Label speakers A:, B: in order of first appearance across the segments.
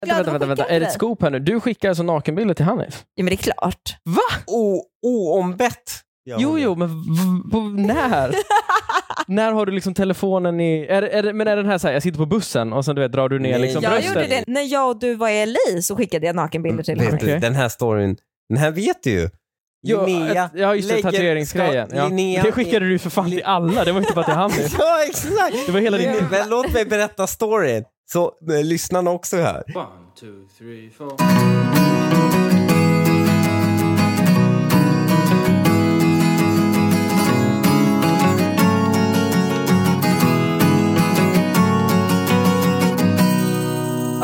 A: Vänta, vänta,
B: glad att
A: vänta,
B: hon
A: vänta.
B: skickade
A: Är det ett
B: den.
A: scoop här nu? Du skickar alltså nakenbilder till Hanif?
B: Ja, men det är klart.
C: O- Oombett. gör
A: Jo,
C: hon det.
A: jo, men v- på, när? när har du liksom telefonen i... Är, det- är, det- men är den här så här, jag sitter på bussen och sen du vet, drar du ner
C: Nej.
A: liksom
C: Ja,
B: Jag
A: bröstet?
B: gjorde det när jag och du var i LA så skickade jag nakenbilder till
C: vet
B: honom.
C: du, Den här storyn, den här vet du ju.
A: Jo,
C: Linnea
A: ett- ja, just det,
C: lägger-
A: tatueringsgrejen.
C: ska-
A: Ja.
C: Linnea-
A: Det skickade du för fan till alla, det var inte bara till Hanif.
C: Ja, exakt!
A: Det var hela din...
C: Men låt mig berätta storyn, så eh, lyssnarna också hör.
D: One, two, three, four.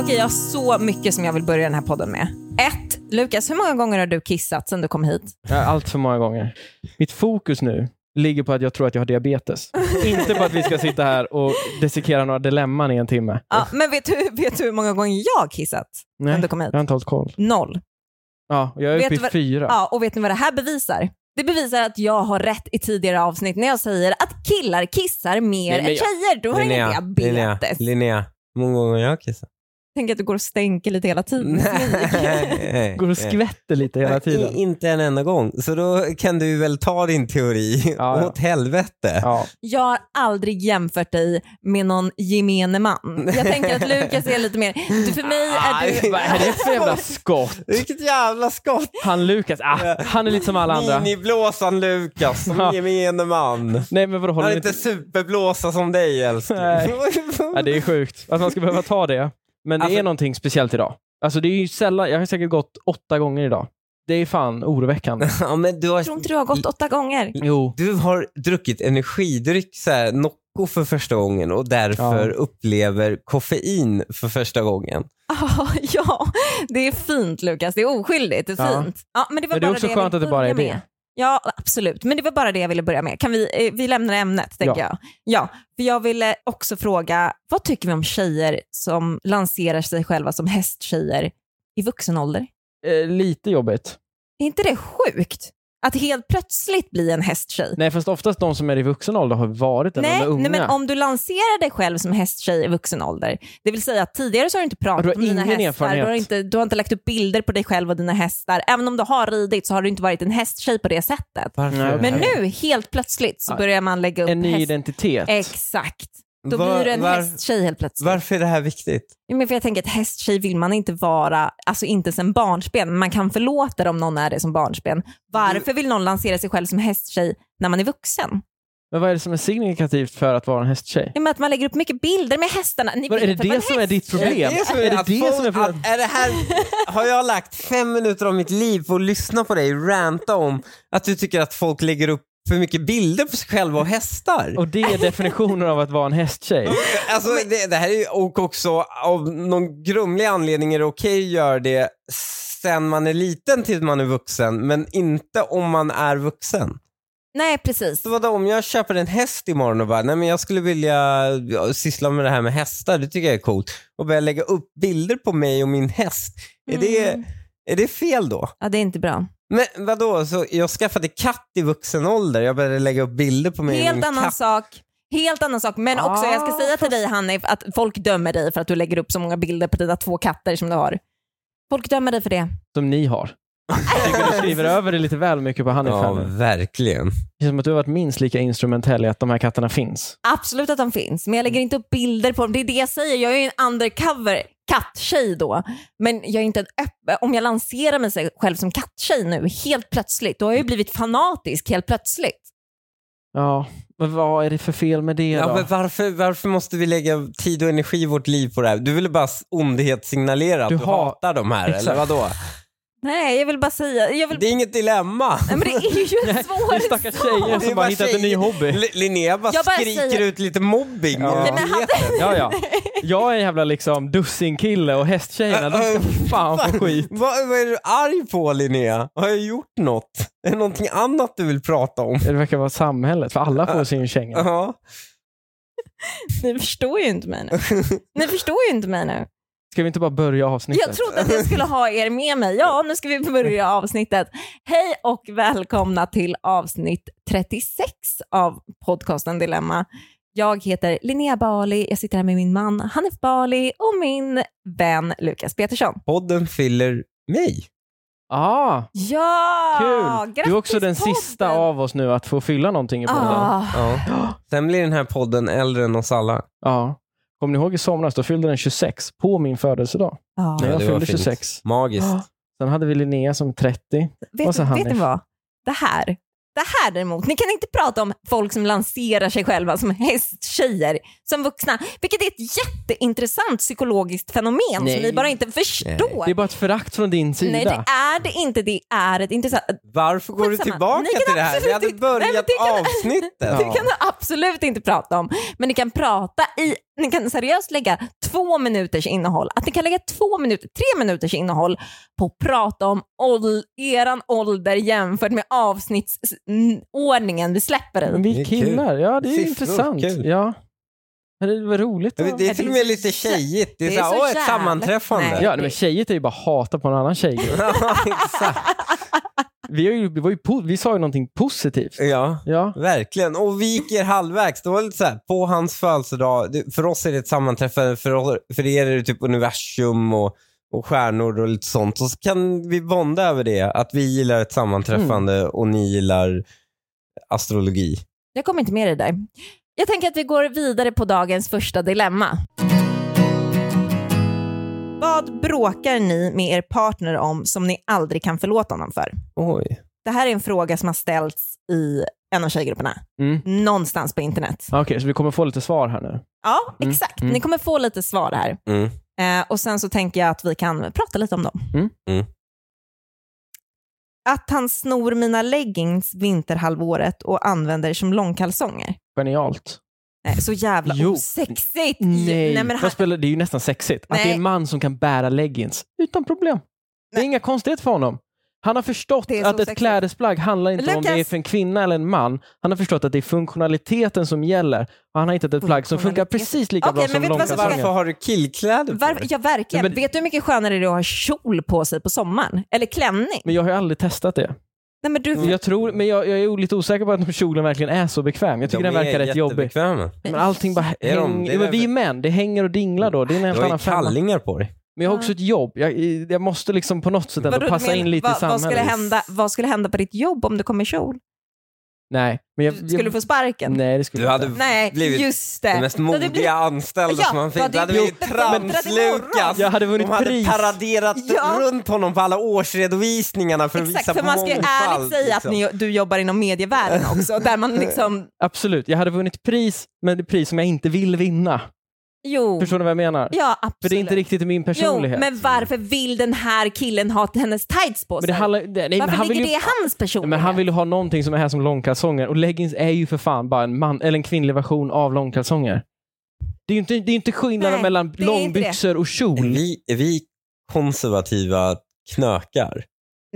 B: Okej, jag har så mycket som jag vill börja den här podden med. Ett, Lukas, hur många gånger har du kissat sedan du kom hit?
A: Ja, allt för många gånger. Mitt fokus nu ligger på att jag tror att jag har diabetes. inte på att vi ska sitta här och dissekera några dilemman i en timme.
B: Ja, men vet du, vet du hur många gånger jag har kissat
A: Nej,
B: sedan du kom hit?
A: jag har inte hållit koll.
B: Noll.
A: Ja, jag är
B: Vet
A: uppe i
B: du vad-
A: fyra.
B: Ja, och vet ni vad det här bevisar? Det bevisar att jag har rätt i tidigare avsnitt när jag säger att killar kissar mer
C: Nej,
B: än
C: men jag-
B: tjejer. Du har ingen
C: Linnea,
B: diabetes.
C: Linnea. Hur många gånger har jag kissat?
B: Tänk att du går och stänker lite hela tiden.
C: Nej.
A: Går och skvätter lite hela tiden.
C: I- Inte en enda gång. Så då kan du väl ta din teori
A: Ja, ja.
C: åt helvete.
A: Ja.
B: Jag har aldrig jämfört dig med någon gemene man. Jag tänker att Lukas är lite mer... Du, för mig är du...
A: Ah, Vad är det för jävla skott?
C: Vilket jävla skott!
A: Han Lukas, ah, han är lite som alla andra.
C: Miniblåsan Lukas, som
A: Ja.
C: gemene man.
A: Nej men vadå,
C: Han
A: håller
C: är
A: ni
C: inte
A: inte...
C: superblåsa som dig älskling.
A: Nej. Ja, det är sjukt att man ska behöva ta det. Men det
C: Alltså-
A: är någonting speciellt idag. Alltså det är ju sällan, jag har säkert gått åtta gånger idag. Det är fan oroväckande.
C: ja, men du,
B: Jag tror
C: har,
B: inte du har gått åtta gånger.
A: Jo.
C: du har druckit energidryck, så här, Nocco för första gången och därför
A: Ja.
C: upplever koffein för första gången.
B: Ah, ja, det är fint Lukas. Det är oskyldigt. Det är
A: Ja.
B: fint. Ja, men det var
A: Men det är
B: bara
A: också
B: jag
A: skönt
B: ville
A: att det bara är
B: börja
A: det.
B: med. Ja, absolut. Men det var bara det jag ville börja med. Kan vi, eh, vi lämnar ämnet, tänker
A: Ja.
B: jag. Ja, för jag ville också fråga, vad tycker vi om tjejer som lanserar sig själva som hästtjejer i vuxen ålder?
A: Eh, lite jobbigt.
B: Är inte det sjukt? Att helt plötsligt bli en hästtjej?
A: Nej fast oftast de som är i vuxen ålder har varit det när de
B: Nej,
A: är unga.
B: nej, men om du lanserar dig själv som hästtjej i vuxen ålder, det vill säga att tidigare så har du inte pratat
A: Ja, du har
B: om dina
A: ingen
B: hästar,
A: erfarenhet.
B: Du, har inte, du har inte lagt upp bilder på dig själv och dina hästar. Även om du har ridit så har du inte varit en hästtjej på det sättet.
C: Varför?
A: Nej,
B: Men nu, helt plötsligt, så
A: Ja.
B: börjar man lägga upp
A: En ny
B: häst-
A: identitet.
B: Exakt. Då
C: Var-
B: blir du en
C: var-
B: hästtjej helt plötsligt.
C: Varför är det här viktigt?
B: Ja, Men för jag tänker att hästtjej vill man inte vara, alltså inte sen barnsben, men man kan förlåta det om någon är det som barnsben. Varför vill någon lansera sig själv som hästtjej när man är vuxen?
A: Men vad är det som är signifikativt för att vara en hästtjej?
B: I och med att man lägger upp mycket bilder med hästarna. Ni
A: Vad- Är
B: vill
A: det
B: inte vara
A: det
B: en
A: som är
B: häst.
A: ditt problem?
C: som
A: Är det
C: att
A: det
C: folk-
A: som är problemet?
C: att- är det här, har jag lagt fem minuter av mitt liv på att lyssna på dig ranta om att du tycker att folk lägger upp för mycket bilder på sig själva och hästar?
A: Och det är definitionen av att vara en hästtjej.
C: Alltså, det, det här är ju, och också av någon grumlig anledning är det okej att göra det sen man är liten tills man är vuxen, men inte om man är vuxen.
B: Nej, precis.
C: Så vadå, om jag köper en häst imorgon och bara, nej men jag skulle vilja ja, syssla med det här med hästar, det tycker jag är coolt, och börja lägga upp bilder på mig och min häst, är, det,
B: Mm.
C: är det fel då?
B: Ja, det är inte bra.
C: Men vadå, så jag skaffade katt i vuxen ålder, jag började lägga upp bilder på mig och min
B: Helt annan
C: katt.
B: sak. Helt annan sak, men också jag ska
A: Ah,
B: säga till dig Hanif att folk dömer dig för att du lägger upp så många bilder på dina två katter som du har. Folk dömer dig för det.
A: Som ni har. Jag tycker du skriver över det lite väl mycket på Hanif här
C: Ja,
A: nu.
C: verkligen.
A: Det känns som att du har varit minst lika instrumentell i att de här katterna finns.
B: Absolut att de finns, men jag lägger inte upp bilder på dem. Det är det jag säger, jag är ju en undercover katttjej då. Men jag är inte en öppen, om jag lanserar mig själv som katttjej nu helt plötsligt, då har jag ju blivit fanatisk helt plötsligt.
A: Ja, men vad är det för fel med det då?
C: Ja, men varför, varför måste vi lägga tid och energi i vårt liv på det här? Du ville bara s- ondhetssignalera att du,
A: Du ha-
C: hatar de här, eller
A: Exakt.
C: vadå?
B: Nej, jag vill bara säga, jag vill...
C: Det är inget dilemma.
B: Nej, men det är ju en
A: det är
B: svår
A: stackars tjejer
C: Det är
A: som bara
C: bara
A: hittat en ny
C: tjejer.
A: hobby.
C: L- Linnea bara,
B: Jag bara
C: skriker
B: säger-
C: ut lite mobbing.
A: Ja.
C: i
A: Nej,
B: men han-
C: nyheten.
A: Ja, ja. Jag är en jävla liksom dussinkille och hästtjejerna, de ska fan få skit.
C: Vad, vad är du arg på Linnea? Har jag gjort något? Är det någonting annat du vill prata om?
A: Det verkar vara samhället, för alla får sin känga.
C: Ja.
B: Ni förstår ju inte mig nu. Ni förstår ju inte mig nu.
A: Ska vi inte bara börja
B: Jag
A: avsnittet?
B: trodde att jag skulle ha er med mig. Ja, nu ska vi börja avsnittet. Hej och välkomna till avsnitt 36 av podcasten Dilemma. Jag heter Linnea Bali, jag sitter här med min man Hanif Bali och min vän Lukas Petersson.
C: Podden fyller mig.
A: Ah,
B: Ja!
A: kul!
B: Grattis
A: du är också den
B: podden!
A: sista av oss nu att få fylla någonting i podden.
B: Ah,
C: Ja. Sen blir den här podden äldre än oss alla.
A: Ja. Kommer ni ihåg i somras? Då fyllde den 26 på min födelsedag.
B: ah.
A: När
C: Ja,
A: jag
C: det var
A: fyllde
C: fint.
A: 26.
C: Magiskt.
B: Ah.
A: Sen hade vi Linnea som 30. Och
B: Vet,
A: så Hanif.
B: vet ni vad? Det här, det här däremot, ni kan inte prata om folk som lanserar sig själva som hästtjejer som vuxna, vilket är ett jätteintressant psykologiskt fenomen
A: Nej.
B: som ni bara inte förstår.
A: Det är bara ett förakt från din sida.
B: Nej, det är det inte. Det är ett intressant...
C: Varför går du
B: Skitsamma.
C: tillbaka
B: Ni kan
C: till det här? Vi
B: absolut
C: hade
B: inte- Nej, men
C: börjat
B: det kan-
C: avsnittet.
B: Det kan du absolut inte prata om, men ni kan prata i... Ni kan seriöst lägga två minuters innehåll, att ni kan lägga två minuter, tre minuters innehåll på att prata om ål, eran ålder jämfört med avsnittsordningen vi släpper i.
A: Men
C: Det
A: vi
C: är kul.
A: killar, ja det är
C: Siffror,
A: intressant.
C: kul.
A: Ja. Men Det var roligt.
C: Ja,
A: att-
C: men Det är till och med lite tjejigt. Det är,
B: Det
C: så
B: är
C: här,
B: så
C: åh, ett
B: jävla-
C: sammanträffande.
B: Nej.
A: Ja, men tjejer är ju bara hata på en annan tjej.
C: Ja, exakt.
A: Vi, har ju, vi, var ju po- vi sa ju någonting positivt.
C: Ja.
A: Ja.
C: Verkligen, och vi gick er halvvägs. Det var lite så här, på hans födelsedag, det- för oss är det ett sammanträffande, för, oss, för er är det typ universum och, och stjärnor och lite sånt. Och så kan vi bonda över det, att vi gillar ett sammanträffande och ni gillar astrologi.
B: Jag kommer inte med det där. Jag tänker att vi går vidare på dagens första dilemma. Vad bråkar ni med er partner om som ni aldrig kan förlåta honom för?
C: Oj.
B: Det här är en fråga som har ställts i en av tjejgrupperna,
A: Mm.
B: någonstans på internet.
A: Ah, Okej, så vi kommer få lite svar här nu.
B: Ja,
A: Mm,
B: exakt.
A: mm.
B: Ni kommer få lite svar här.
C: Mm.
B: Eh, och sen så tänker jag att vi kan prata lite om dem.
A: Mm.
C: Mm.
B: Att han snor mina leggings vinterhalvåret och använder som långkalsonger.
A: Genialt.
B: Nej, Eh, så jävla
A: Jo.
B: osexigt.
A: Nej,
B: men han,
A: Vad spelar, det är ju nästan sexigt. Att det är
B: Nej.
A: en man som kan bära leggings utan problem. Det är inga konstigheter för honom. Han har förstått
B: Det är så
A: att ett
B: sexigt.
A: klädesplagg handlar inte om det är
B: Lukas!
A: för en kvinna eller en man. Han har förstått att det är funktionaliteten som gäller. Och han har hittat ett plagg som funkar
B: Funktionalitet.
A: precis lika
B: Okej,
A: bra
B: men
A: som
B: vet du vad som ska-
A: långkalsonger.
C: Varför har du killkläder på
B: varför,
C: dig?
B: ja, verkligen.
A: Nej, men-
B: Vet du hur mycket skönare det är att ha kjol på sig på sommaren? Eller klänning?
A: Men jag har ju aldrig testat det.
B: Nej, men du,
A: Jag, tror, men jag, jag är lite osäker på att kjolen verkligen är så bekväm. Jag tycker
C: De
A: den verkar
C: är
A: rätt jobbig.
C: jättebekväma.
A: Men allting bara
C: Är de-
A: hänger.
C: det är
A: Jo, men Vi är
C: därför-
A: män, det hänger och dinglar då. Det är en
C: Du
A: helt
C: har ju
A: annan femma.
C: kallingar på dig.
A: Men jag har också ett jobb. Jag, jag måste liksom på något sätt ändå
B: vadå, du
A: passa
B: menar-
A: in lite i
B: vad,
A: samhället.
B: vad, skulle hända, vad skulle hända på ditt jobb om du kom i kjol?
A: Nej, men jag... jag
B: Skulle du få sparken?
A: Nej, det skulle
C: Du
A: jag
C: hade
A: inte.
B: Nej,
C: blivit
B: just Eh, det.
C: Den mest
B: Då hade du
C: modiga
B: blivit-
C: anställda
B: Ja,
C: som man
B: då
C: fick.
B: hade
C: Det hade
B: vi
C: blivit
B: blivit befordrade
C: tramslukas.
B: imorgon.
A: Jag hade vunnit
C: De hade
A: pris.
C: paraderat
B: Ja.
C: runt honom på alla årsredovisningarna för att
B: Exakt,
C: visa
B: för
C: på
B: man ska ju
C: mångfald,
B: ärligt säga att
C: liksom.
B: ni, du jobbar inom medievärlden också, där man liksom,
A: Absolut, jag hade vunnit pris, men det är pris som jag inte vill vinna.
B: jo,
A: Förstår ni vad jag menar?
B: ja Mm. absolut.
A: För det är inte riktigt min
B: Jo,
A: personlighet.
B: men varför vill den här killen ha hennes tights på
A: Men
B: sig?
A: det handlar nej, men
B: varför
A: han vill
B: ligger
A: ju,
B: det i hans personlighet?
A: Men han vill ju ha någonting som är här som långkalsonger och leggings är ju för fan bara en, man, eller en kvinnlig version av långkalsonger. Det är ju inte, det är inte skillnaden
B: Nej,
A: mellan
B: det är inte
A: långbyxor och
C: Är
A: kjol.
C: vi, är vi konservativa knökar?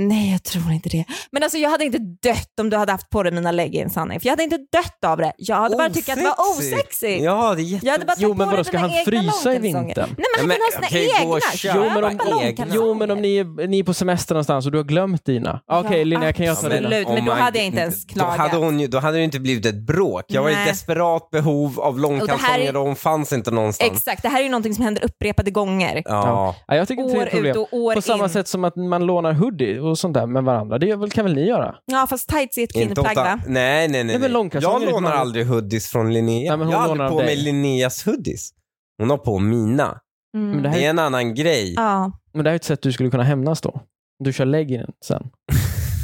B: Nej, jag tror inte det. Men alltså jag hade inte dött om du hade haft på dig mina leggings, Hanif. Jag hade inte dött av det. Jag hade bara tyckt att det var
C: Osexigt.
B: osexigt.
C: Ja, det är jätte...
B: Jag hade bara
A: Jo,
B: tagit
A: men
B: på
A: vadå,
B: dig
A: ska
B: dina
A: han
B: egna
A: frysa i
B: långkalsonger.
A: vintern?
B: Nej, men han
C: Nej,
B: kan ha
C: men
B: sina
C: okej, gå och
B: egna.
C: köp
A: Jo men, om,
B: Köpa långkalsonger.
A: jo men om ni är, ni är på semester någonstans och du har glömt dina. Okej Linnea kan jag ta
B: absolut.
A: dina?
B: men
C: om
B: då
C: man-
B: hade jag inte ens klagat.
C: Då hade, hon ju, då hade det inte blivit ett bråk. Jag var i
B: Nej.
C: desperat behov av
B: Och det här
C: långkalsonger
B: är-
C: och hon fanns inte någonstans.
B: Exakt, det här är ju någonting som händer upprepade gånger.
C: ja.
A: Ja, jag tycker inte det är
B: År
A: ett problem.
B: ut och år
A: På samma
B: in.
A: sätt som att man lånar hoodie och sånt där med varandra. Det gör väl- kan väl ni göra?
B: Ja, fast tights är ett
C: Inte åt
B: kvinnoplagg va?
C: an- Nej, nej, nej.
A: men
C: nej.
A: långkalsonger
C: Jag
A: är ett
C: lånar
A: vanligt-
C: aldrig hoodies från
A: Nej,
C: Linnea.
A: men hon
C: jag har aldrig
A: lånar
C: på
A: av
C: mig
A: dig.
C: Linneas hoodies. Hon har på mina.
B: Mm.
A: Men det här,
C: Det
A: är-
C: är en annan grej.
B: Ja.
A: men det här är ett sätt du skulle kunna hämnas då. Du kör leggingen sen.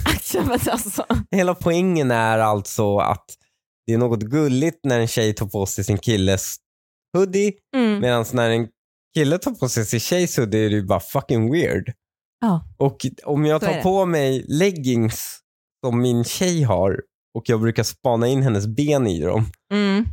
B: Alltså, men alltså.
C: Hela poängen är alltså att det är något gulligt när en tjej tar på sig sin killes hoodie
B: Mm.
C: medan när en kille tar på sig sin tjejs hoodie är det ju bara fucking weird.
B: Ja.
C: Och om jag
B: Så är
C: tar
B: det.
C: på mig leggings som min tjej har och jag brukar spana in hennes ben i dem.
B: Mm.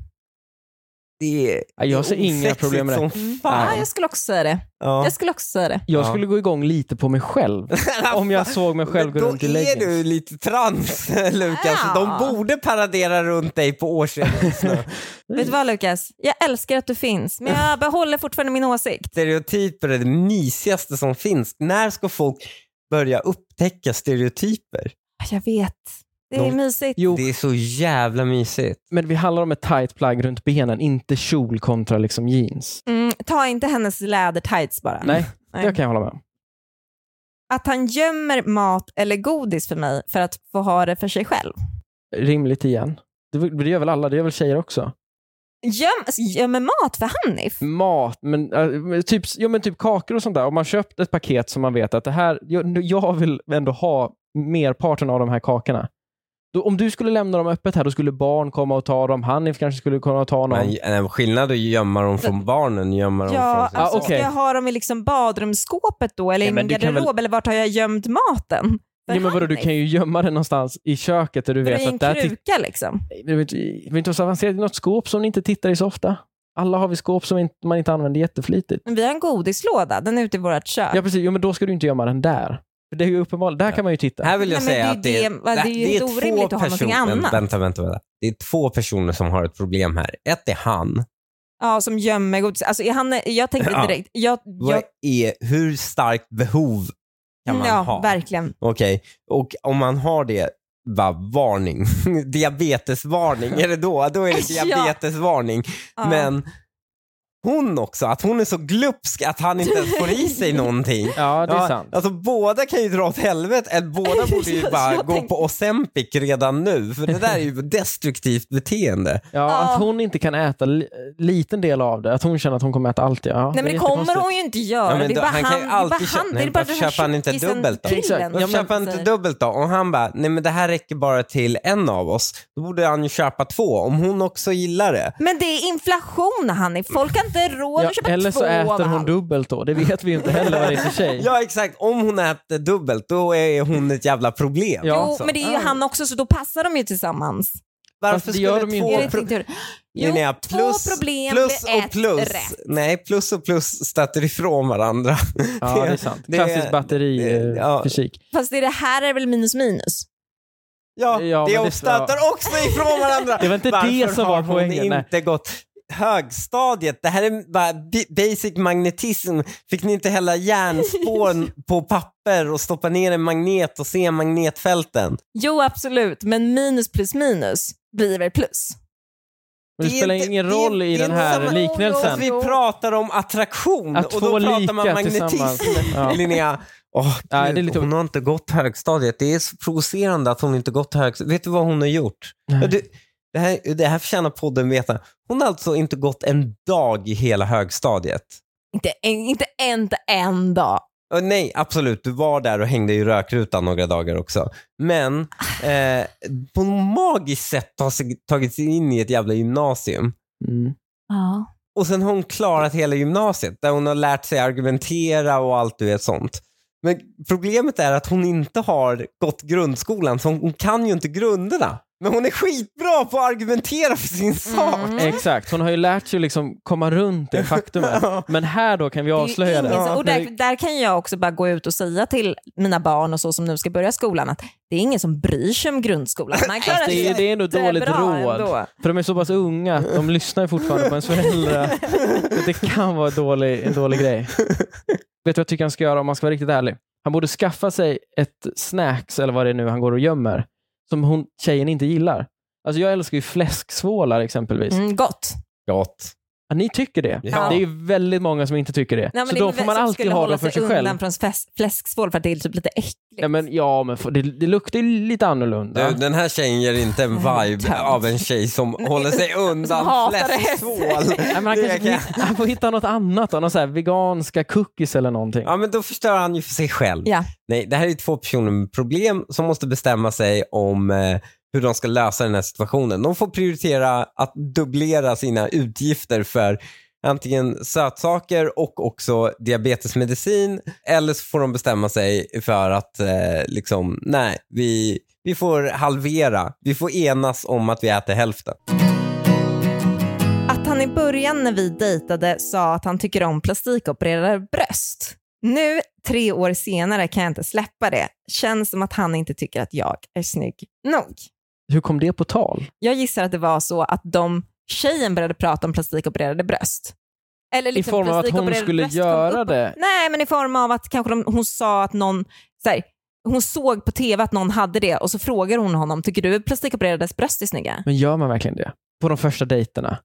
C: Det är
A: Ja, jag ser
C: det är
A: inga problem med det. Mm.
C: osexigt som
B: Ja,
C: fan.
B: Ah, jag skulle också säga det.
C: Ja.
B: Jag skulle också säga det.
A: Jag
C: Ja.
A: skulle gå igång lite på mig själv. Om jag såg mig själv gå
C: Men
A: runt i
C: Då är
A: leggings.
C: du lite trans, Lukas.
B: Ja.
C: De borde paradera runt dig på årsredovisningarna.
B: Vet du vad Lukas? Jag älskar att du finns, men jag behåller fortfarande min åsikt.
C: stereotyper är det mysigaste som finns. När ska folk börja upptäcka stereotyper?
B: Ah, Jag vet. Det är
C: De-
B: mysigt.
A: Jo,
C: Det är så jävla mysigt.
A: men vi handlar om ett tight plagg runt benen, inte kjol kontra liksom jeans.
B: Mm, ta inte hennes lädertights bara.
A: Nej,
B: Nej.
A: det kan jag hålla med om.
B: Att han gömmer mat eller godis för mig för att få ha det för sig själv.
A: Rimligt igen. Det, det gör väl alla, det gör väl tjejer också?
B: Göm, alltså, gömmer mat för Hanif?
A: Mat, men, äh, men typ, jo, men typ kakor och sånt där. Om man köpt ett paket som man vet att det här, jag, jag vill ändå ha merparten av de här kakorna. Då, om du skulle lämna dem öppet här, då skulle barn komma och ta dem. Hanif kanske skulle komma och ta någon.
C: Men, nej, skillnad är att gömma dem från barnen, gömma dem
B: Ja,
C: från sin
B: alltså,
A: Ja, okej.
B: Ska jag ha dem i liksom badrumsskåpet då eller
A: Nej,
B: i
A: men
B: min
A: du kan
B: garderob eller vart har jag gömt maten? För
A: Nej, men vadå, du
B: Hanif?
A: kan ju gömma den någonstans i köket där du
B: Dra
A: vet
B: i en
A: att där tittar...
B: kruka liksom.
A: Vi behöver inte- vi behöver inte vara så avancerat. Det är något skåp som ni inte tittar i så ofta. Alla har vi skåp som inte- man inte använder jätteflitigt.
B: Men Vi har en godislåda, den är ute i vårt kök.
A: Ja, precis. Jo, men då ska du inte gömma den där. För det är ju uppenbart. Där kan man ju titta.
C: Här vill
B: Nej,
C: jag
B: men
C: säga
B: det är
C: att det är,
B: det- va, det är ju helt orimligt att ha någonting
C: personer-
B: annat.
C: Vänta, vänta, vänta. Det är två personer som har ett problem här. Ett är han.
B: Ja, som gömmer godis. Alltså, är han, jag tänkte
C: Ja.
B: direkt, jag, jag,
C: Vad är, hur starkt behov kan man
B: ja,
C: ha?
B: verkligen.
C: Okej, och om man har det, va, varning. diabetesvarning, är det då? Då är det
B: Ja.
C: diabetesvarning.
B: Ja.
C: Men hon också, att hon är så glupsk att han inte ens får i sig någonting.
A: Ja, det är
C: Ja,
A: sant.
C: Alltså båda kan ju dra åt helvete, eller båda borde ju
B: Jag
C: bara gå
B: tänkte-
C: på Ozempic redan nu, för det där är ju destruktivt beteende.
A: Ja,
B: Ja.
A: att hon inte kan äta li- liten del av det. Att hon känner att hon kommer äta allt. Ja,
B: Nej, men det kommer hon ju inte göra.
C: Ja, men
B: det är
C: då-
B: bara
C: han
B: han,
C: kan ju
B: det är
C: alltid
B: bara
C: köpa-
B: han,
C: Nej,
B: det är bara
C: varför
B: den här
C: köper han inte
B: tjockisen
C: dubbelt då?
B: killen
A: Exakt. Ja,
C: Då
A: men-
B: som
C: köper han inte
B: säger-
C: dubbelt då? Och han bara, nej men det här räcker bara till en av oss. Då borde han ju köpa två, om hon också gillar det.
B: Men det är inflation Hanif, folk har inte råd
A: Ja,
B: att köpa
A: eller
B: två
A: så
B: av
A: äter hon
B: allt.
A: dubbelt då. Det vet vi ju inte heller vad det är för tjej.
C: Ja exakt, om hon äter dubbelt då är hon ett jävla problem.
A: Ja, alltså. Ah.
B: Jo,
C: så.
B: men det är ju han också så då passar de ju tillsammans.
A: Fast
C: Varför
A: det gör
C: skulle
A: de ju
C: två...
A: inte.
B: Är det
C: pro-
B: inte tur? Jo,
C: Linnea, plus,
B: två problem
C: plus
B: blir
C: och
B: ett
C: plus.
B: rätt.
C: Nej, plus och plus stöter ifrån varandra.
A: Ja, det är sant.
C: det-
A: Klassisk eh, batterifysik.
C: det- ja.
B: Fast det, det här är väl minus minus?
C: Ja,
A: Ja,
C: det
A: men
C: de
A: det-
C: stöter också ifrån varandra.
A: Det var inte det
C: Varför
A: som var
C: har hon
A: poängen, nej.
C: inte gått högstadiet? Det här är bara bi- basic magnetism. Fick ni inte hälla järnspån på papper och stoppa ner en magnet och se magnetfälten?
B: Jo, absolut, men minus plus minus blir väl plus?
A: Men det,
C: Det är
A: spelar
C: inte-
A: ingen
C: det-
A: roll
C: det
A: i
C: är
A: den
C: inte
A: här
C: samma-
A: liknelsen.
C: Vi pratar om attraktion
A: Att
C: och
A: två
C: då pratar man
A: lika
C: magnetism.
A: tillsammans. Ja.
C: Linnea, åh,
A: Nej,
C: gud,
A: det är lite-
C: hon har inte gått högstadiet. Det är så provocerande att hon inte gått högstadiet. Vet du vad hon har gjort?
A: Nej.
C: Ja, Du, det, här, det här förtjänar podden veta. Hon har alltså inte gått en dag i hela högstadiet.
B: Inte en, inte en, inte en dag.
C: Och nej, absolut. Du var där och hängde i rökrutan några dagar också. Men eh, på något magiskt sätt har sig, tagit sig in i ett jävla gymnasium.
A: Mm.
B: Ja.
C: Och sen har hon klarat hela gymnasiet där hon har lärt sig argumentera och allt du vet sånt. Men problemet är att hon inte har gått grundskolan så hon kan ju inte grunderna. Men hon är skitbra på att argumentera för sin sak.
B: Mm.
A: Exakt, hon har ju lärt sig liksom komma runt det faktumet.
C: Ja.
A: Men här då kan vi
B: Det är ju
A: avslöja det.
B: ingen som- Och
A: När
B: där, där kan jag också bara gå ut och säga till mina barn och så som nu ska börja skolan att det är ingen som bryr sig om grundskolan. Man klarar
A: Fast det, är,
B: sig
A: det är ändå dåligt
B: bra
A: råd.
B: ändå.
A: För de är så pass unga att de lyssnar ju fortfarande på ens föräldrar. Så det kan vara en dålig, en dålig grej. Vet du vad jag tycker han ska göra om man ska vara riktigt ärlig? Han borde skaffa sig ett snacks, eller vad det är nu han går och gömmer, som hon, tjejen inte gillar. Alltså jag älskar ju fläsksvålar exempelvis.
B: Mm, gott.
C: Gott.
A: Ja, ni tycker det?
C: Ja.
A: Det är ju väldigt många som inte tycker det.
B: Nej, men
A: så
B: det är
A: då
B: väl
A: får man
B: som
A: alltid
B: skulle
A: ha
B: hålla
A: dem för sig själv.
B: undan från fläsk, fläsksvål för att det är typ lite äckligt.
A: Ja, men, ja, men f- det, det luktar ju lite
C: Du,
A: annorlunda.
C: den här tjejen ger inte en vibe
B: Tönt.
C: av en tjej som håller sig undan
B: hatar
C: fläsktvål.
A: Nej, men han,
C: Det
A: kanske får
C: kan-
A: hitta, han får hitta något annat, då, någon så här veganska cookies eller någonting.
C: Ja, men då förstör han ju för sig själv.
B: Ja.
C: Nej, det här är ju två personer med problem som måste bestämma sig om eh, hur de ska lösa den här situationen. De får prioritera att dubblera sina utgifter för antingen sötsaker och också diabetesmedicin eller så får de bestämma sig för att eh, liksom, nej, vi, vi får halvera. Vi får enas om att vi äter hälften.
B: Att han i början när vi dejtade sa att han tycker om plastikopererade bröst. Nu, tre år senare, kan jag inte släppa det. Känns som att han inte tycker att jag är snygg nog.
A: Hur kom det på tal?
B: Jag gissar att det var så att de tjejen började prata om plastikopererade bröst. Eller liksom
A: I form av att hon
B: plastikopererade
A: skulle
B: bröst kom
A: göra
B: upp.
A: det?
B: Nej, men i form av att kanske de, hon sa att någon, så här, hon såg på tv att någon hade det och så frågar hon honom, tycker du plastikopererades bröst är snygga?
A: Men gör man verkligen det? På de första dejterna?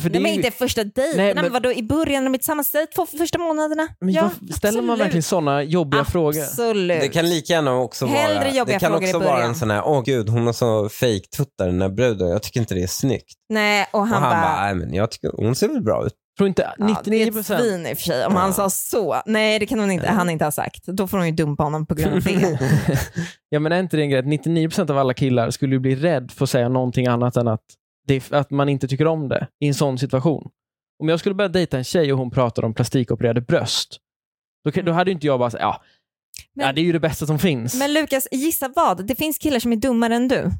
A: För det
B: Nej, men
A: är ju-
B: inte första dejten,
A: Nej,
B: Nej,
A: men-
B: men... vadå, i början när de är tillsammans, säg två första månaderna.
A: men
B: ja,
A: jag, ställer man
B: absolut.
A: verkligen sådana jobbiga frågor?
B: Absolut.
C: Det kan lika gärna också
B: Hellre
C: vara,
B: jobbiga
C: det kan
B: frågor i
C: också vara
B: början.
C: en sån här, åh gud hon har så fake-tuttar den här bruden, jag tycker inte det är snyggt.
B: Nej, och han,
C: och han bara,
B: bara,
C: nej men jag tycker hon ser väl bra ut.
A: Tror inte
B: ja, det
A: 99
B: är ett svin i och för sig. Om han sa så. Nej, det kan hon inte, han inte ha sagt. Då får hon ju dumpa honom på grund av det.
A: ja, men är inte det en grej att 99 av alla killar skulle ju bli rädd för att säga någonting annat än att, det, att man inte tycker om det i en sån situation. Om jag skulle börja dejta en tjej och hon pratar om plastikopererade bröst, då, kan- då hade ju inte jag bara sagt ja,
B: Men-
A: ja, det är ju det bästa som finns.
B: Men Lukas, gissa vad? Det finns killar som är dummare än du.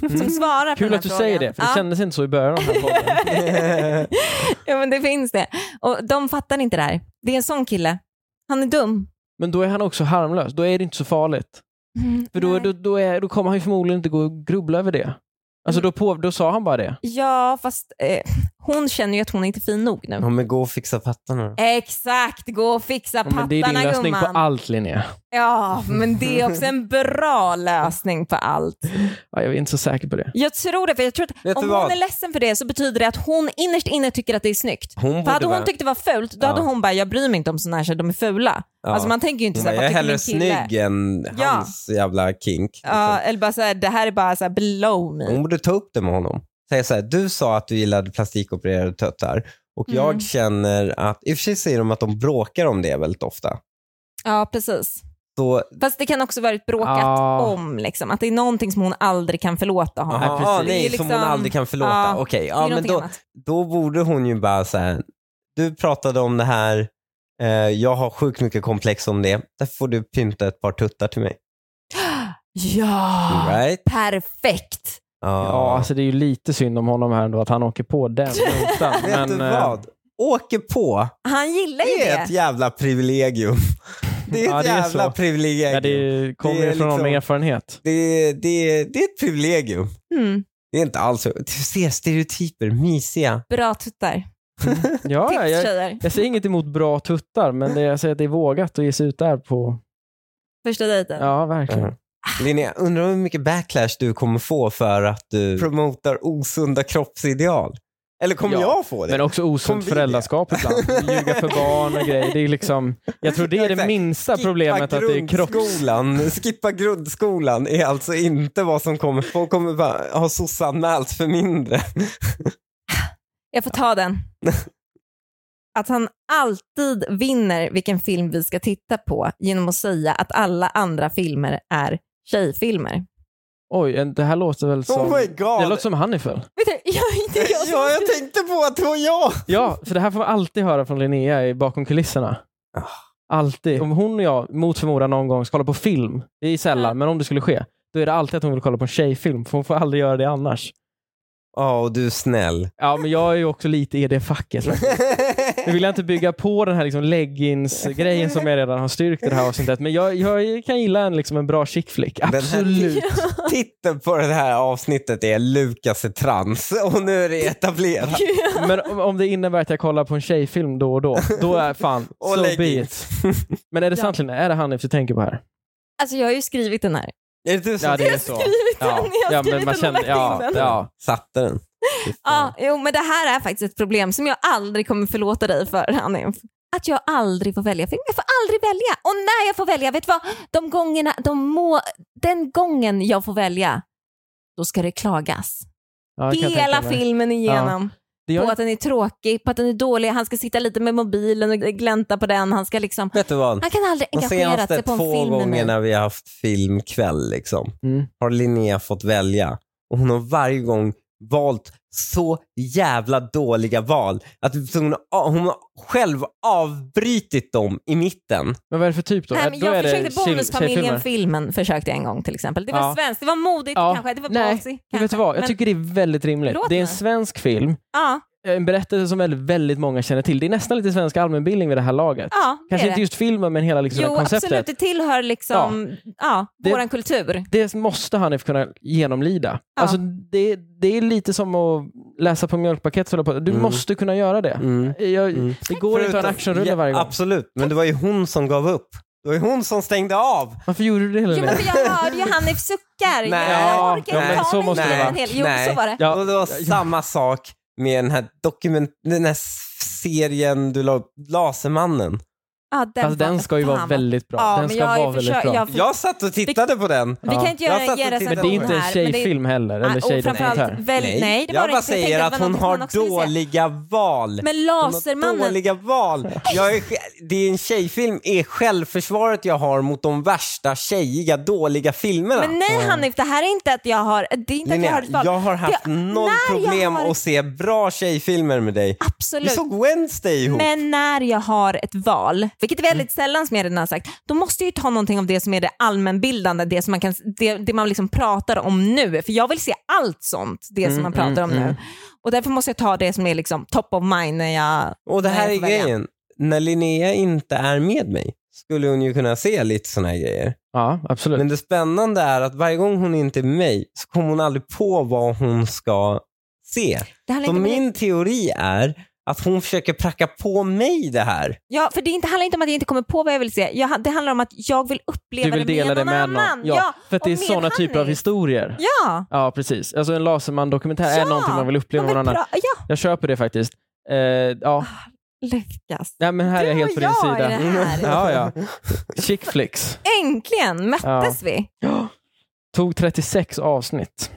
B: Som svarar på den
A: Kul
B: här
A: att du
B: frågan.
A: säger det, för det
B: Ja.
A: kändes inte så i början av den här podden.
B: ja, men det finns det. Och de fattar inte det här. Det är en sån kille. Han är dum.
A: Men då är han också harmlös. Då är det inte så farligt. För då,
B: Nej.
A: då, då, är, då kommer han ju förmodligen inte gå och grubbla över det. Alltså
B: Mm.
A: då, på, då sa han bara det.
B: Ja, fast eh, hon känner ju att hon inte är fin nog nu.
C: Ja men gå och fixa pattarna då.
B: Exakt, gå och fixa
A: Ja, men det är din
B: pattarna
A: lösning
B: gumman.
A: på allt Linnea.
B: Ja, men det är också en bra lösning på allt.
A: Ja, jag är inte så säker på det.
B: Jag tror det, för jag tror att
C: Vet du
B: om
C: vad?
B: hon är ledsen för det så betyder det att hon innerst inne tycker att det är snyggt.
C: Hon
B: För
C: borde
B: hade hon
C: vara-
B: tyckt det var fult, då
C: Ja.
B: hade hon bara, jag bryr mig inte om sådana här tjejer, de är fula.
C: Ja.
B: Alltså man tänker ju inte
C: Hon
B: såhär,
C: bara, jag
B: vad
C: är
B: tycker
C: hellre
B: min kille?
C: snygg än
B: Ja.
C: hans jävla kink. liksom.
B: Ja, eller bara såhär, det här är bara såhär below me.
C: Hon borde ta upp det med honom. Säga så här, du sa att du gillade plastikopererade tuttar och jag
B: Mm.
C: känner att, i och för sig säger de att de bråkar om det väldigt ofta.
B: Ja, precis.
C: Så,
B: Fast det kan också vara ett bråkat
A: Ja.
B: om, liksom. att det är någonting som hon aldrig kan förlåta honom.
A: Ja,
C: aha,
A: precis.
C: ah,
B: Det är
C: nej,
B: liksom-
C: som hon aldrig kan förlåta.
B: Ja,
C: Okej,
B: det
C: ja,
B: är
C: men
B: någonting
C: då,
B: annat.
C: då borde hon ju bara så här, du pratade om det här, eh, jag har sjukt mycket komplex om det, därför får du pynta ett par tuttar till mig.
B: Ja,
C: Right?
B: perfekt.
C: Ja.
A: Ja, alltså det är ju lite synd om honom här ändå att han åker på den notan.
C: Vet du
A: eh,
C: vad? Åker på,
B: Han gillar ju
C: det
B: det.
C: är ett jävla privilegium. Det är ett
A: Ja, det är
C: jävla
A: så.
C: privilegium.
A: Ja, det kommer
C: Det är
A: ju från någon med
C: liksom-
A: erfarenhet.
C: Det, det, det är ett privilegium.
B: Mm,
C: Det är inte alls så. Du ser stereotyper, mysiga.
B: bra tuttar.
A: Ja,
B: Tips
A: jag,
B: tjejer.
A: jag säger inget emot bra tuttar, men det, jag säger att det är vågat att ge sig ut där på...
B: Första dejten.
A: Ja, verkligen.
C: Mm. Linnea, undrar hur mycket backlash du kommer få för att du promotar osunda kroppsideal? Eller kommer
A: Ja,
C: jag få det?
A: Men också
C: Kom
A: osunt
C: vi det?
A: föräldraskap ibland. Ljuga för barn och grejer. Det är liksom, jag tror det är det
C: Exakt.
A: minsta problemet att det är kropps...
C: grundskolan, skippa grundskolan är alltså inte vad som kommer. Folk kommer bara ha sossanmälts för mindre.
B: Jag får ta den. Att han alltid vinner vilken film vi ska titta på genom att säga att alla andra filmer är tjejfilmer.
A: Oj, en- det här låter väl som...
C: Oh my god.
A: Det låter som Hannifal.
B: Vet du, jag är inte jag som...
C: Ja, jag tänkte på att det var jag.
A: Ja, för det här får man alltid höra från Linnea i bakom kulisserna.
C: Ah.
A: Alltid. Om hon och jag mot förmodan någon gång ska kolla på film, det är sällan,
B: Ja.
A: men om det skulle ske, då är det alltid att hon vill kolla på en tjejfilm, för hon får aldrig göra det annars.
C: Ja, och du är snäll.
A: Ja, men jag är ju också lite i det facket. Nu vill jag inte bygga på den här liksom leggings-grejen som jag redan har styrkt i det här avsnittet, men jag, jag kan gilla en, liksom en bra chick flick.
C: här-
A: Absolut.
C: Titeln på det här avsnittet är Lukas är trans och nu är det etablerat.
A: Men om, om det innebär att jag kollar på en tjejfilm då och då, då är fan,
C: Och
A: so be it.
C: leggings.
A: Men är det
B: Ja.
A: sant Linnea? Är det Hanif du tänker på här?
B: Alltså jag har ju skrivit den här.
C: Är det du som
A: Ja, det är så.
B: Skrivit den, jag har
A: ja,
B: skrivit
A: men man
B: den och
A: känner,
B: lagt in
A: ja,
B: den.
A: ja.
C: satte den? Fy fan.
B: Ja, jo, men det här är faktiskt ett problem som jag aldrig kommer förlåta dig för, Hanif. Att jag aldrig får välja film. Jag får aldrig välja. Och när jag får välja, vet du vad? De gångerna, de må, den gången jag får välja, då ska det klagas.
A: Ja, jag kan
B: Hela
A: tänka mig.
B: filmen igenom.
A: Det gör
B: På att den är tråkig, på att den är dålig. Han ska sitta lite med mobilen och glänta på den. Han ska liksom...
C: Vet du vad?
B: Han kan aldrig
C: De
B: engagera
C: senaste
B: sig på en
C: två
B: film med mig.
C: gångerna vi har haft filmkväll liksom,
A: Mm.
C: har Linnea fått välja. Och hon har varje gång valt så jävla dåliga val att hon, hon har själv avbrytit dem i mitten.
A: Men vad är det för typ då?
B: Nej,
A: Är-
B: men
A: då är
B: jag
A: det
B: försökte
A: tjej- tjejfilmer.
B: Bonusfamiljen-filmen försökte jag en gång till exempel. Det var
A: Ja.
B: svenskt, det var modigt
A: Ja.
B: kanske, det var
A: Nej,
B: ballsy
A: Men Vet du
B: kanske.
A: vad? Jag
B: Men-
A: tycker det är väldigt rimligt.
B: Förlåt
A: det är en
B: mig.
A: svensk film, Eh,
B: Ja,
A: en berättelse som väldigt, väldigt många känner till. Det är nästan lite svensk allmänbildning vid det här laget.
B: ja det
A: Kanske
B: är
A: inte
B: det.
A: just filmen, men hela liksom det
B: Jo,
A: här konceptet.
B: absolut. Det tillhör liksom ja.
A: Det-
B: våran kultur.
A: Det måste Hanif kunna genomlida.
B: Ja.
A: Alltså, det, det är lite som att läsa på mjölkpaket. så håller på. Du
C: Mm.
A: måste kunna göra det.
C: Mm.
A: Jag,
C: Mm.
A: Det går inte att ha en
C: Förutom-
A: actionrulle
C: ja,
A: varje gång.
C: Absolut, men det var ju hon som gav upp. Då är hon som stängde av.
A: Varför gjorde du det hela
B: Jo, men
A: tiden?
B: för jag hörde ju Hanif suckar.
C: Nej.
B: jag orkar
A: Ja,
B: inte
A: men
B: ta
A: så
B: mig
A: måste det
B: hela
A: vara.
B: en hel- Jo,
C: Nej.
B: så var det.
A: Ja.
C: Och det var
A: Ja, ja.
C: samma sak med den här, dokument, den här serien du la upp, Lasermannen.
B: Ja, den
A: Fast Alltså, den
B: var-
A: ska ju vara
B: fan.
A: väldigt bra.
B: Ja,
A: den
B: men
A: ska
B: jag har ju
A: vara väldigt
B: försökt-
A: bra.
B: jag-
C: Jag satt och tittade på den.
B: Vi kan inte göra
C: Jag satt
B: en
C: och tittade
A: men
B: genrecension
A: det
B: här.
A: är inte en
B: men det är-
A: tjejfilm heller. Eller
B: och framförallt,
A: tjejdoktor.
B: väl, nej. det var
C: jag
B: det
C: bara
B: inte. Jag
C: säger
B: tänkte
C: att
B: det var
C: hon
B: någonting som
C: har
B: också ville säga.
C: dåliga val.
B: Men
C: Hon har
B: Lasermannen,
C: Dåliga val. Jag är, det är en tjejfilm är självförsvaret jag har mot de värsta tjejiga dåliga filmerna.
B: Men nej Hanif, det här är inte att jag har... Det är inte att jag har ett
C: Linnea,
B: val.
C: jag har haft
B: Det-
C: noll
B: när jag
C: problem
B: har-
C: att se bra tjejfilmer med dig. Vi
B: Absolut.
C: såg Wednesday ihop.
B: Men när jag har ett val, vilket är väldigt
A: Mm.
B: sällan som jag redan har sagt, då måste jag ju ta någonting av det som är det allmänbildande, det, som man, kan, det, det man liksom pratar om nu. För jag vill se allt sånt, det
A: Mm,
B: som man pratar om nu. Och därför måste jag ta det som är liksom top of mind när jag...
C: Och det här
B: när
C: är
B: jag får välja.
C: grejen. När Linnea inte är med mig skulle hon ju kunna se lite såna här grejer.
A: Ja, absolut.
C: Men det spännande är att varje gång hon inte är med mig så kommer hon aldrig på vad hon ska se.
B: Det handlar
C: Så
B: inte om det.
C: min teori är att hon försöker pracka på mig det här.
B: Ja, för det inte, handlar inte om att jag inte kommer på vad jag vill se. Jag, det handlar om att jag vill
A: du
B: uppleva
A: vill
B: det med
A: dela det
B: någon
A: med
B: annan.
A: någon. Ja, för att det
B: och
A: är
B: med
A: sådana typer av
B: Hanif.
A: historier.
B: Ja,
A: Ja, precis. Alltså en Laserman-dokumentär är
B: Ja,
A: någonting man vill uppleva
B: man
A: med
B: vill
A: någon annan.
B: pra- ja,
A: Jag köper det faktiskt. Eh, ja,
B: lyckas.
A: nej, men här är jag
B: Du
A: helt
B: och
A: på din
B: jag i
A: sida. Mm.
B: det här.
A: Ja, ja. Chick flicks.
B: Äntligen möttes vi.
A: Tog 36 avsnitt.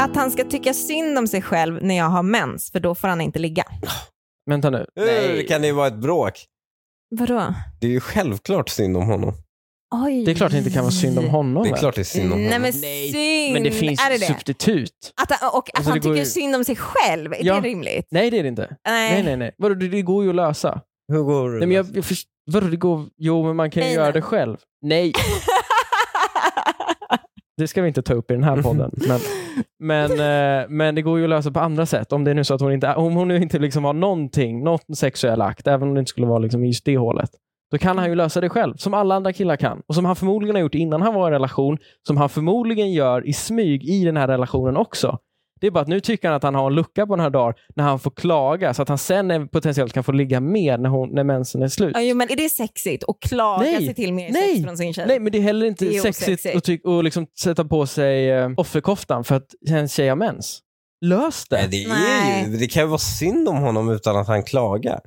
B: Att han ska tycka synd om sig själv när jag har mens, för då får han inte ligga.
A: Vänta nu.
C: Hur kan det vara ett bråk?
B: Vadå?
C: Det är ju självklart synd om honom.
B: Oj.
A: Det är klart det inte kan vara synd om honom.
C: Det är
A: väl?
C: klart det är synd om
B: Nej
C: honom.
B: men synd,
A: Men det finns
B: Mm, är det
A: ju
B: det?
A: substitut.
B: Att, han- och att
A: Alltså,
B: han
A: det går
B: tycker
A: ju-
B: synd om sig själv, är
A: Ja.
B: det rimligt?
A: Nej, det är det inte.
B: Nej.
A: Nej, nej, nej. Vadå, det det går ju att lösa.
C: Hur går det?
A: Nej, men jag, jag först... Vadå, det går... Jo, men man kan ju
B: Nej,
A: göra
B: nej.
A: det själv. Nej. Det ska vi inte ta upp i den här podden. Men, men, eh, men det går ju att lösa på andra sätt. Om det är nu så att hon inte, om hon nu inte liksom har någonting, någon sexuell akt, även om det inte skulle vara liksom i just det hålet, då kan han ju lösa det själv, som alla andra killar kan. Och som han förmodligen har gjort innan han var i en relation, som han förmodligen gör i smyg i den här relationen också. Det är bara att nu tycker han att han har en lucka på den här dagen när han får klaga, så att han sen är- potentiellt kan få ligga mer när, hon, när mensen är slut.
B: Ja, jo, men är det sexigt att klaga
A: Nej.
B: sig till mer
A: Nej.
B: sex från sin tjej?
A: Nej, men det är heller inte
B: Det är
A: sexigt
B: osexigt.
A: att, ty- och liksom sätta på sig eh, offerkoftan för att en tjej har mens. Lös det!
C: Nej, det, är ju, det kan ju vara synd om honom utan att han klagar.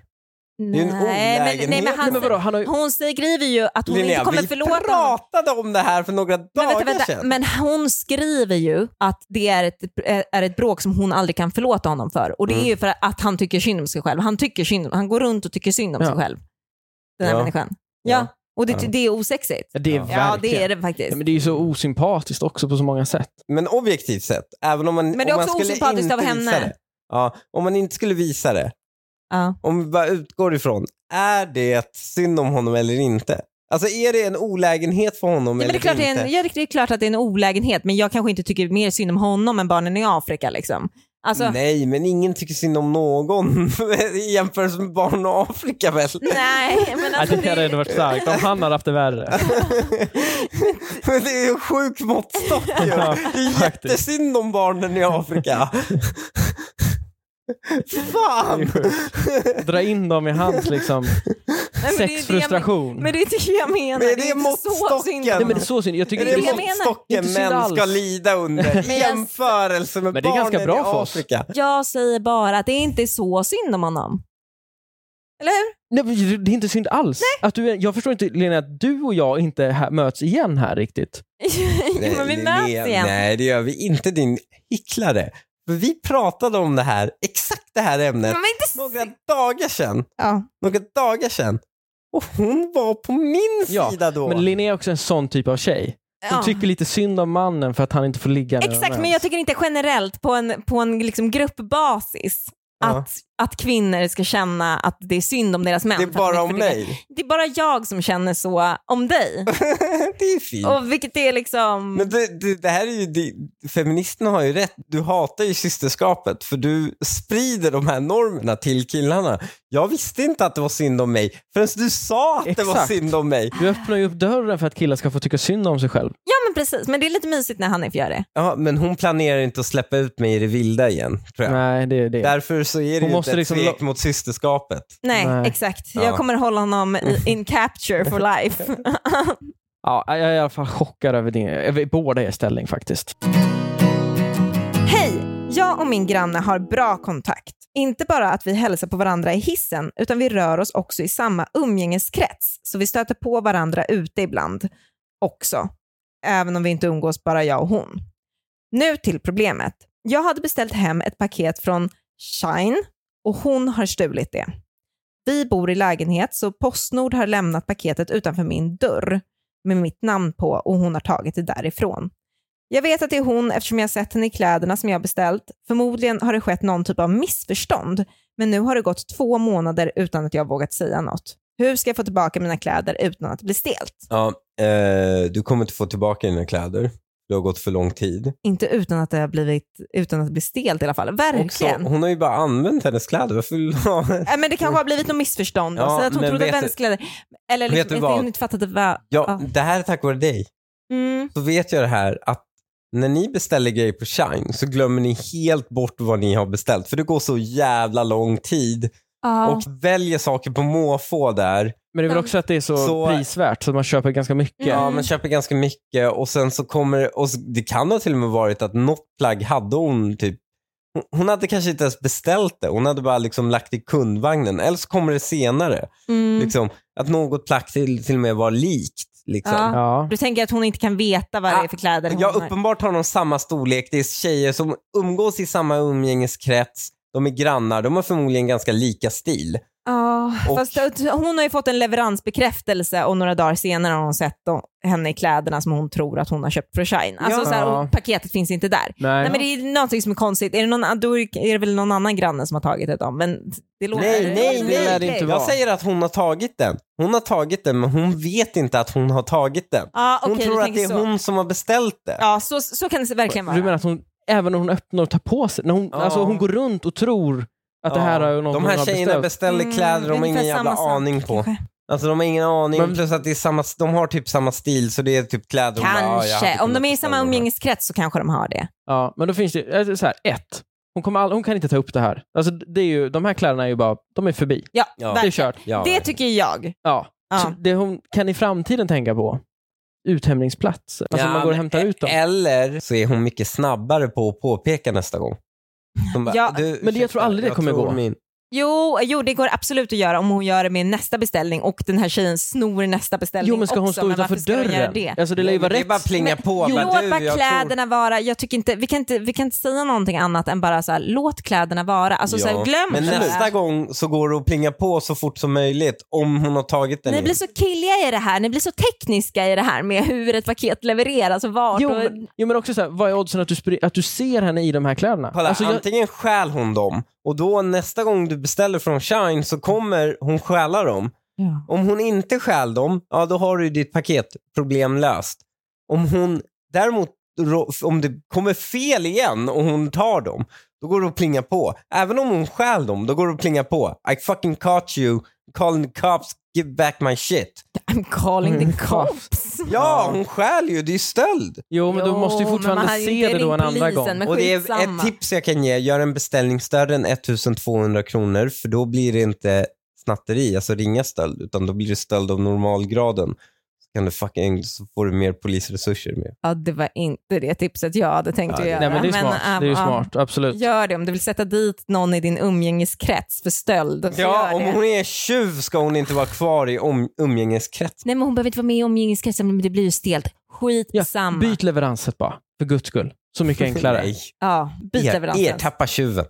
C: är ju
B: Nej,
C: en
B: men, nej, men,
C: olägenhet.
A: Nej,
B: han,
A: men vadå, han har ju...
B: hon skriver ju att hon inte kommer
C: vi
B: förlåta honom.
C: pratade om det här för några
B: Men,
C: dagar
B: vänta, vänta.
C: sedan.
B: men hon skriver ju att det är ett, eh, är ett bråk som hon aldrig kan förlåta honom för. Och det är ju för att han tycker synd om sig själv. Han, tycker synd, om- han går runt och tycker synd om
A: Ja.
B: sig själv. Den här
C: Ja.
B: människan. Ja.
C: Ja.
B: Och det,
C: Ja.
B: det är osexigt.
A: Ja, Det är
C: Ja,
B: Ja,
A: verkligen.
B: det är det faktiskt.
A: Ja, men det är ju så osympatiskt också på så många sätt.
C: Men objektivt sett, även om man,
B: Men det är
C: om man
B: också
C: skulle
B: osympatiskt
C: inte
B: av henne.
C: visa det. Ja, om man inte skulle visa det,
B: Ja.
C: om vi bara utgår ifrån, är det synd om honom eller inte? Alltså är det en olägenhet för honom
B: Ja, men det,
C: eller
B: är klart det, är
C: inte?
B: en, ja, det är klart att det är en olägenhet, men jag kanske inte tycker mer synd om honom än barnen i Afrika. Liksom. Alltså, nej.
C: Nej, men ingen tycker synd om någon i jämförelse med barn och Afrika väl?
B: men
A: Ja,
B: alltså,
A: det hade
B: det,
A: ändå varit starkt om han hade haft det värre.
C: Men det är ju en sjuk måttstock ju.
A: Ja,
C: Det är
A: faktiskt.
C: jättesynd om barnen i Afrika. Fan!
A: Dra in dem i hans liksom,
B: men det är det jag-
A: sexfrustration.
B: men det är det jag menar.
C: Men är
B: det
C: det
B: är inte så synd om
C: måttstocken?
A: Nej, men det är så synd. Jag tycker
C: Är
A: inte
C: det
B: det jag
A: det
B: menar.
A: Inte
C: måttstocken
A: synd
C: män ska
A: alls.
C: lida under
B: Men
C: i
B: jag-
C: jämförelse med
A: Men det är ganska
C: barnen
A: bra
C: i
A: för oss.
C: Afrika?
B: Jag säger bara att det inte är så synd om honom. Eller hur?
A: Nej, men det är inte synd alls. Att du är, jag förstår inte Lena, att du och jag inte här, möts igen här riktigt.
B: Jo, men vi
C: Linnea,
B: möts igen.
C: Nej, det gör vi inte din hycklare. För vi pratade om det här, exakt det här ämnet,
B: Men inte...
C: några dagar sedan.
B: ja.
C: Några dagar sedan. Och hon var på min
A: Ja,
C: sida då.
A: Men Linnea är också en sån typ av tjej. Hon
B: Ja.
A: tycker lite synd om mannen för att han inte får ligga med
B: Exakt,
A: någon
B: men
A: ens.
B: jag tycker inte generellt på en, på en liksom gruppbasis
C: Ja.
B: att, att kvinnor ska känna att det är synd om deras män.
C: det är
B: för att de
C: bara
B: inte
C: om
B: får ligga.
C: mig.
B: Det är bara jag som känner så om dig.
C: det är fint.
B: Och vilket är liksom...
C: Men det, det, det här är ju, det, feministerna har ju rätt. Du hatar ju systerskapet för du sprider de här normerna till killarna. Jag visste inte att det var synd om mig förrän du sa att det var
A: Exakt.
C: synd om mig.
A: Du öppnar ju upp dörren för att killar ska få tycka synd om sig själv.
B: Ja men precis. Men det är lite mysigt när Hanif gör det.
C: Ja, men hon planerar inte att släppa ut mig i det vilda igen, tror jag.
A: Nej, det är det.
C: Därför så är det
A: Hon
C: ju
A: måste
C: inte ett
A: liksom
C: svek
A: lo-
C: mot systerskapet.
B: Nej,
A: Nej.
B: exakt.
C: Ja.
B: Jag kommer hålla honom i, in capture for life.
A: Ja, jag är i alla fall chockad över, din, över båda er ställning faktiskt.
B: Hej! Jag och min granne har bra kontakt. Inte bara att vi hälsar på varandra i hissen, utan vi rör oss också i samma umgängeskrets. Så vi stöter på varandra ute ibland också. Även om vi inte umgås, bara jag och hon. Nu till problemet. Jag hade beställt hem ett paket från Shine och hon har stulit det. Vi bor i lägenhet så Postnord har lämnat paketet utanför min dörr med mitt namn på och hon har tagit det därifrån. Jag vet att det är hon eftersom jag sett henne i kläderna som jag beställt. Förmodligen har det skett någon typ av missförstånd, men nu har det gått två månader utan att jag vågat säga något. Hur ska jag få tillbaka mina kläder utan att bli stelt?
C: Ja, eh, du kommer inte få tillbaka dina kläder. Det har gått för lång tid.
B: Inte utan att det har blivit, utan att bli stelt i alla fall.
C: Också,
B: Verkligen.
C: hon har ju bara använt hennes kläder. Varför vill du ha
B: Äh, men det kanske har blivit något missförstånd. Alltså,
C: Ja,
B: Ja, så att hon
C: men
B: trodde
C: vet
B: att
C: du-
B: vänskläder... Eller
C: Vet du
B: liksom,
C: vad?
B: inte, hon inte fattade vad...
C: Ja,
B: Ja.
C: det här är tack vare dig.
B: Mm.
C: Så vet jag det här att när ni beställer grejer på Shine så glömmer ni helt bort vad ni har beställt. För det går så jävla lång tid
B: Ja.
C: och väljer saker på måfå där.
A: Men det är väl
B: Ja.
A: också att det är så,
C: Så-
A: prisvärt så man köper ganska mycket.
B: Mm.
C: Ja, man köper ganska mycket och sen så kommer det- och s- det kan ha till och med varit att något plagg hade hon typ hon- hon hade kanske inte ens beställt det. Hon hade bara liksom lagt i kundvagnen. Eller så kommer det senare.
B: Mm.
C: Liksom, att något plagg till, till och med var likt. Liksom.
B: Ja.
A: Ja.
B: Du tänker att hon inte kan veta vad det är för kläder hon
C: Ja,
B: har.
C: uppenbart har de samma storlek. Det är tjejer som umgås i samma umgängeskrets. De är grannar. De har förmodligen ganska lika stil.
B: Ja,
C: Och-
B: fast hon har ju fått en leveransbekräftelse och några dagar senare har hon sett då, henne i kläderna som hon tror att hon har köpt för Shine. Alltså,
C: Ja.
B: så här, och paketet finns inte där.
A: Nej.
B: Nej, men det är någonting som är konstigt. Är det, någon, då är det- är det väl någon annan granne som har tagit det då? Men det låter...
C: Nej,
B: det
C: nej,
B: låter
C: nej.
A: Det lär det
B: märkligt.
A: inte vara.
C: Jag säger att hon har tagit den. Hon har tagit den, men hon vet inte att hon har tagit den.
B: Ja, okej,
C: Hon
B: du
C: tror att
B: tänker
C: det är
B: så.
C: hon som har beställt det.
B: Ja, så, så kan det verkligen vara.
A: Du menar att hon, även när hon öppnar och tar på sig, när hon,
C: Ja.
A: alltså hon går runt och tror att det här
C: Ja.
A: är något
C: De
A: hon
C: här
A: har
C: tjejerna
A: beställt.
C: beställer
B: Mm,
C: kläder de har
B: ungefär
C: ingen jävla
B: samma sak,
C: aning på.
B: kanske.
C: Alltså de har ingen aning,
A: Men-
C: plus att det är samma, de har typ samma stil så det är typ kläder de bara, ja, typ jag hade
B: Kanske.
C: kunnat
B: Om de är i
C: beställa
B: samma
C: de här.
B: umgängeskrets så kanske de har det.
A: Ja, men då finns det, alltså, så här, ett, hon, kommer all, hon kan inte ta upp det här. Alltså, det är ju, de här kläderna är ju bara, de är förbi.
B: Ja,
C: Ja.
A: Det är
B: verkligen.
A: kört.
C: Ja, Typ.
B: det tycker jag.
A: Ja.
B: Ja.
A: Så det hon kan i framtiden tänka på, uthämningsplatser. Alltså
C: Ja,
A: man går och
C: men
A: hämtar ut dem.
C: Eller så är hon mycket snabbare på att påpeka nästa gång. Hon bara,
B: Ja,
C: "Du,
A: jag
C: ursäkta,
A: tror aldrig det kommer
C: tror
A: gå."
C: Min...
B: Jo, jo, det går absolut att göra om hon gör det med nästa beställning och den här tjejen snor nästa beställning
A: Jo men ska hon
B: också,
A: stå
B: men
A: utanför
B: varför ska hon göra
A: dörren?
B: Det?
A: Alltså det lär ju vara
C: det är
A: rätt.
C: bara plinga
B: Men-
C: på.
B: Jo,
C: bara, du,
B: låt bara
C: jag tror...
B: kläderna vara. Jag tycker inte, vi, kan inte, vi kan inte säga någonting annat än bara så här, låt kläderna vara. Alltså, så här,
C: Ja,
B: glöm
C: Men
B: det.
C: nästa gång så går det att plinga på så fort som möjligt om hon har tagit den
B: Ni
C: in.
B: blir så killiga i det här, ni blir så tekniska i det här med hur ett paket levereras och vart.
A: Jo
B: och...
A: men, jo men också så här, vad är oddsen att du, spri- att du ser henne i de här kläderna?
C: Kolla,
A: Alltså, jag,
C: antingen stjäl hon dem och då nästa gång du beställer från Shine så kommer hon stjäla dem.
B: Ja.
C: Om hon inte stjäl dem, ja då har du ditt paket problem löst. Om hon däremot, ro- om det kommer fel igen och hon tar dem, då går det att plinga på. Även om hon stjäl dem, då går det att plinga på. I fucking caught you, calling the cops, give back my shit.
B: I'm calling
A: Mm.
B: the cops.
C: Ja, hon stjäl ju, det är ju stöld.
A: jo men
B: Jo,
A: du måste ju
B: men man
A: fortfarande
B: hade ju
A: se
B: inte
A: det då en
B: ringt
A: andra
B: polisen,
A: gång.
B: men-
C: Och det är
B: skitsamma.
C: ett tips jag kan ge, gör en beställning större än 1200 kronor för då blir det inte snatteri, alltså ringa stöld, utan då blir det stöld av normalgraden. Så, kan du fucking, så får du mer polisresurser med.
B: Ja, det var inte det tipset jag hade tänkt
C: Ja,
B: att
C: det-
B: göra.
A: Nej men det är smart,
B: ähm,
A: det är ju
B: ja.
A: smart, absolut.
B: Gör det om du vill sätta dit någon i din umgängeskrets för stöld. så
C: Ja,
B: gör
C: om
B: det.
C: hon är tjuv ska hon inte vara kvar i om, umgängeskretsen.
B: Nej men hon behöver inte vara med i umgängeskretsen men det blir ju stelt.
A: Ja,
B: Skitsamma. Ja,
A: byt leveranset bara, för guds skull. Så mycket enklare.
C: Nej.
B: byt
C: Er,
B: leveransen.
C: ertappa tjuven.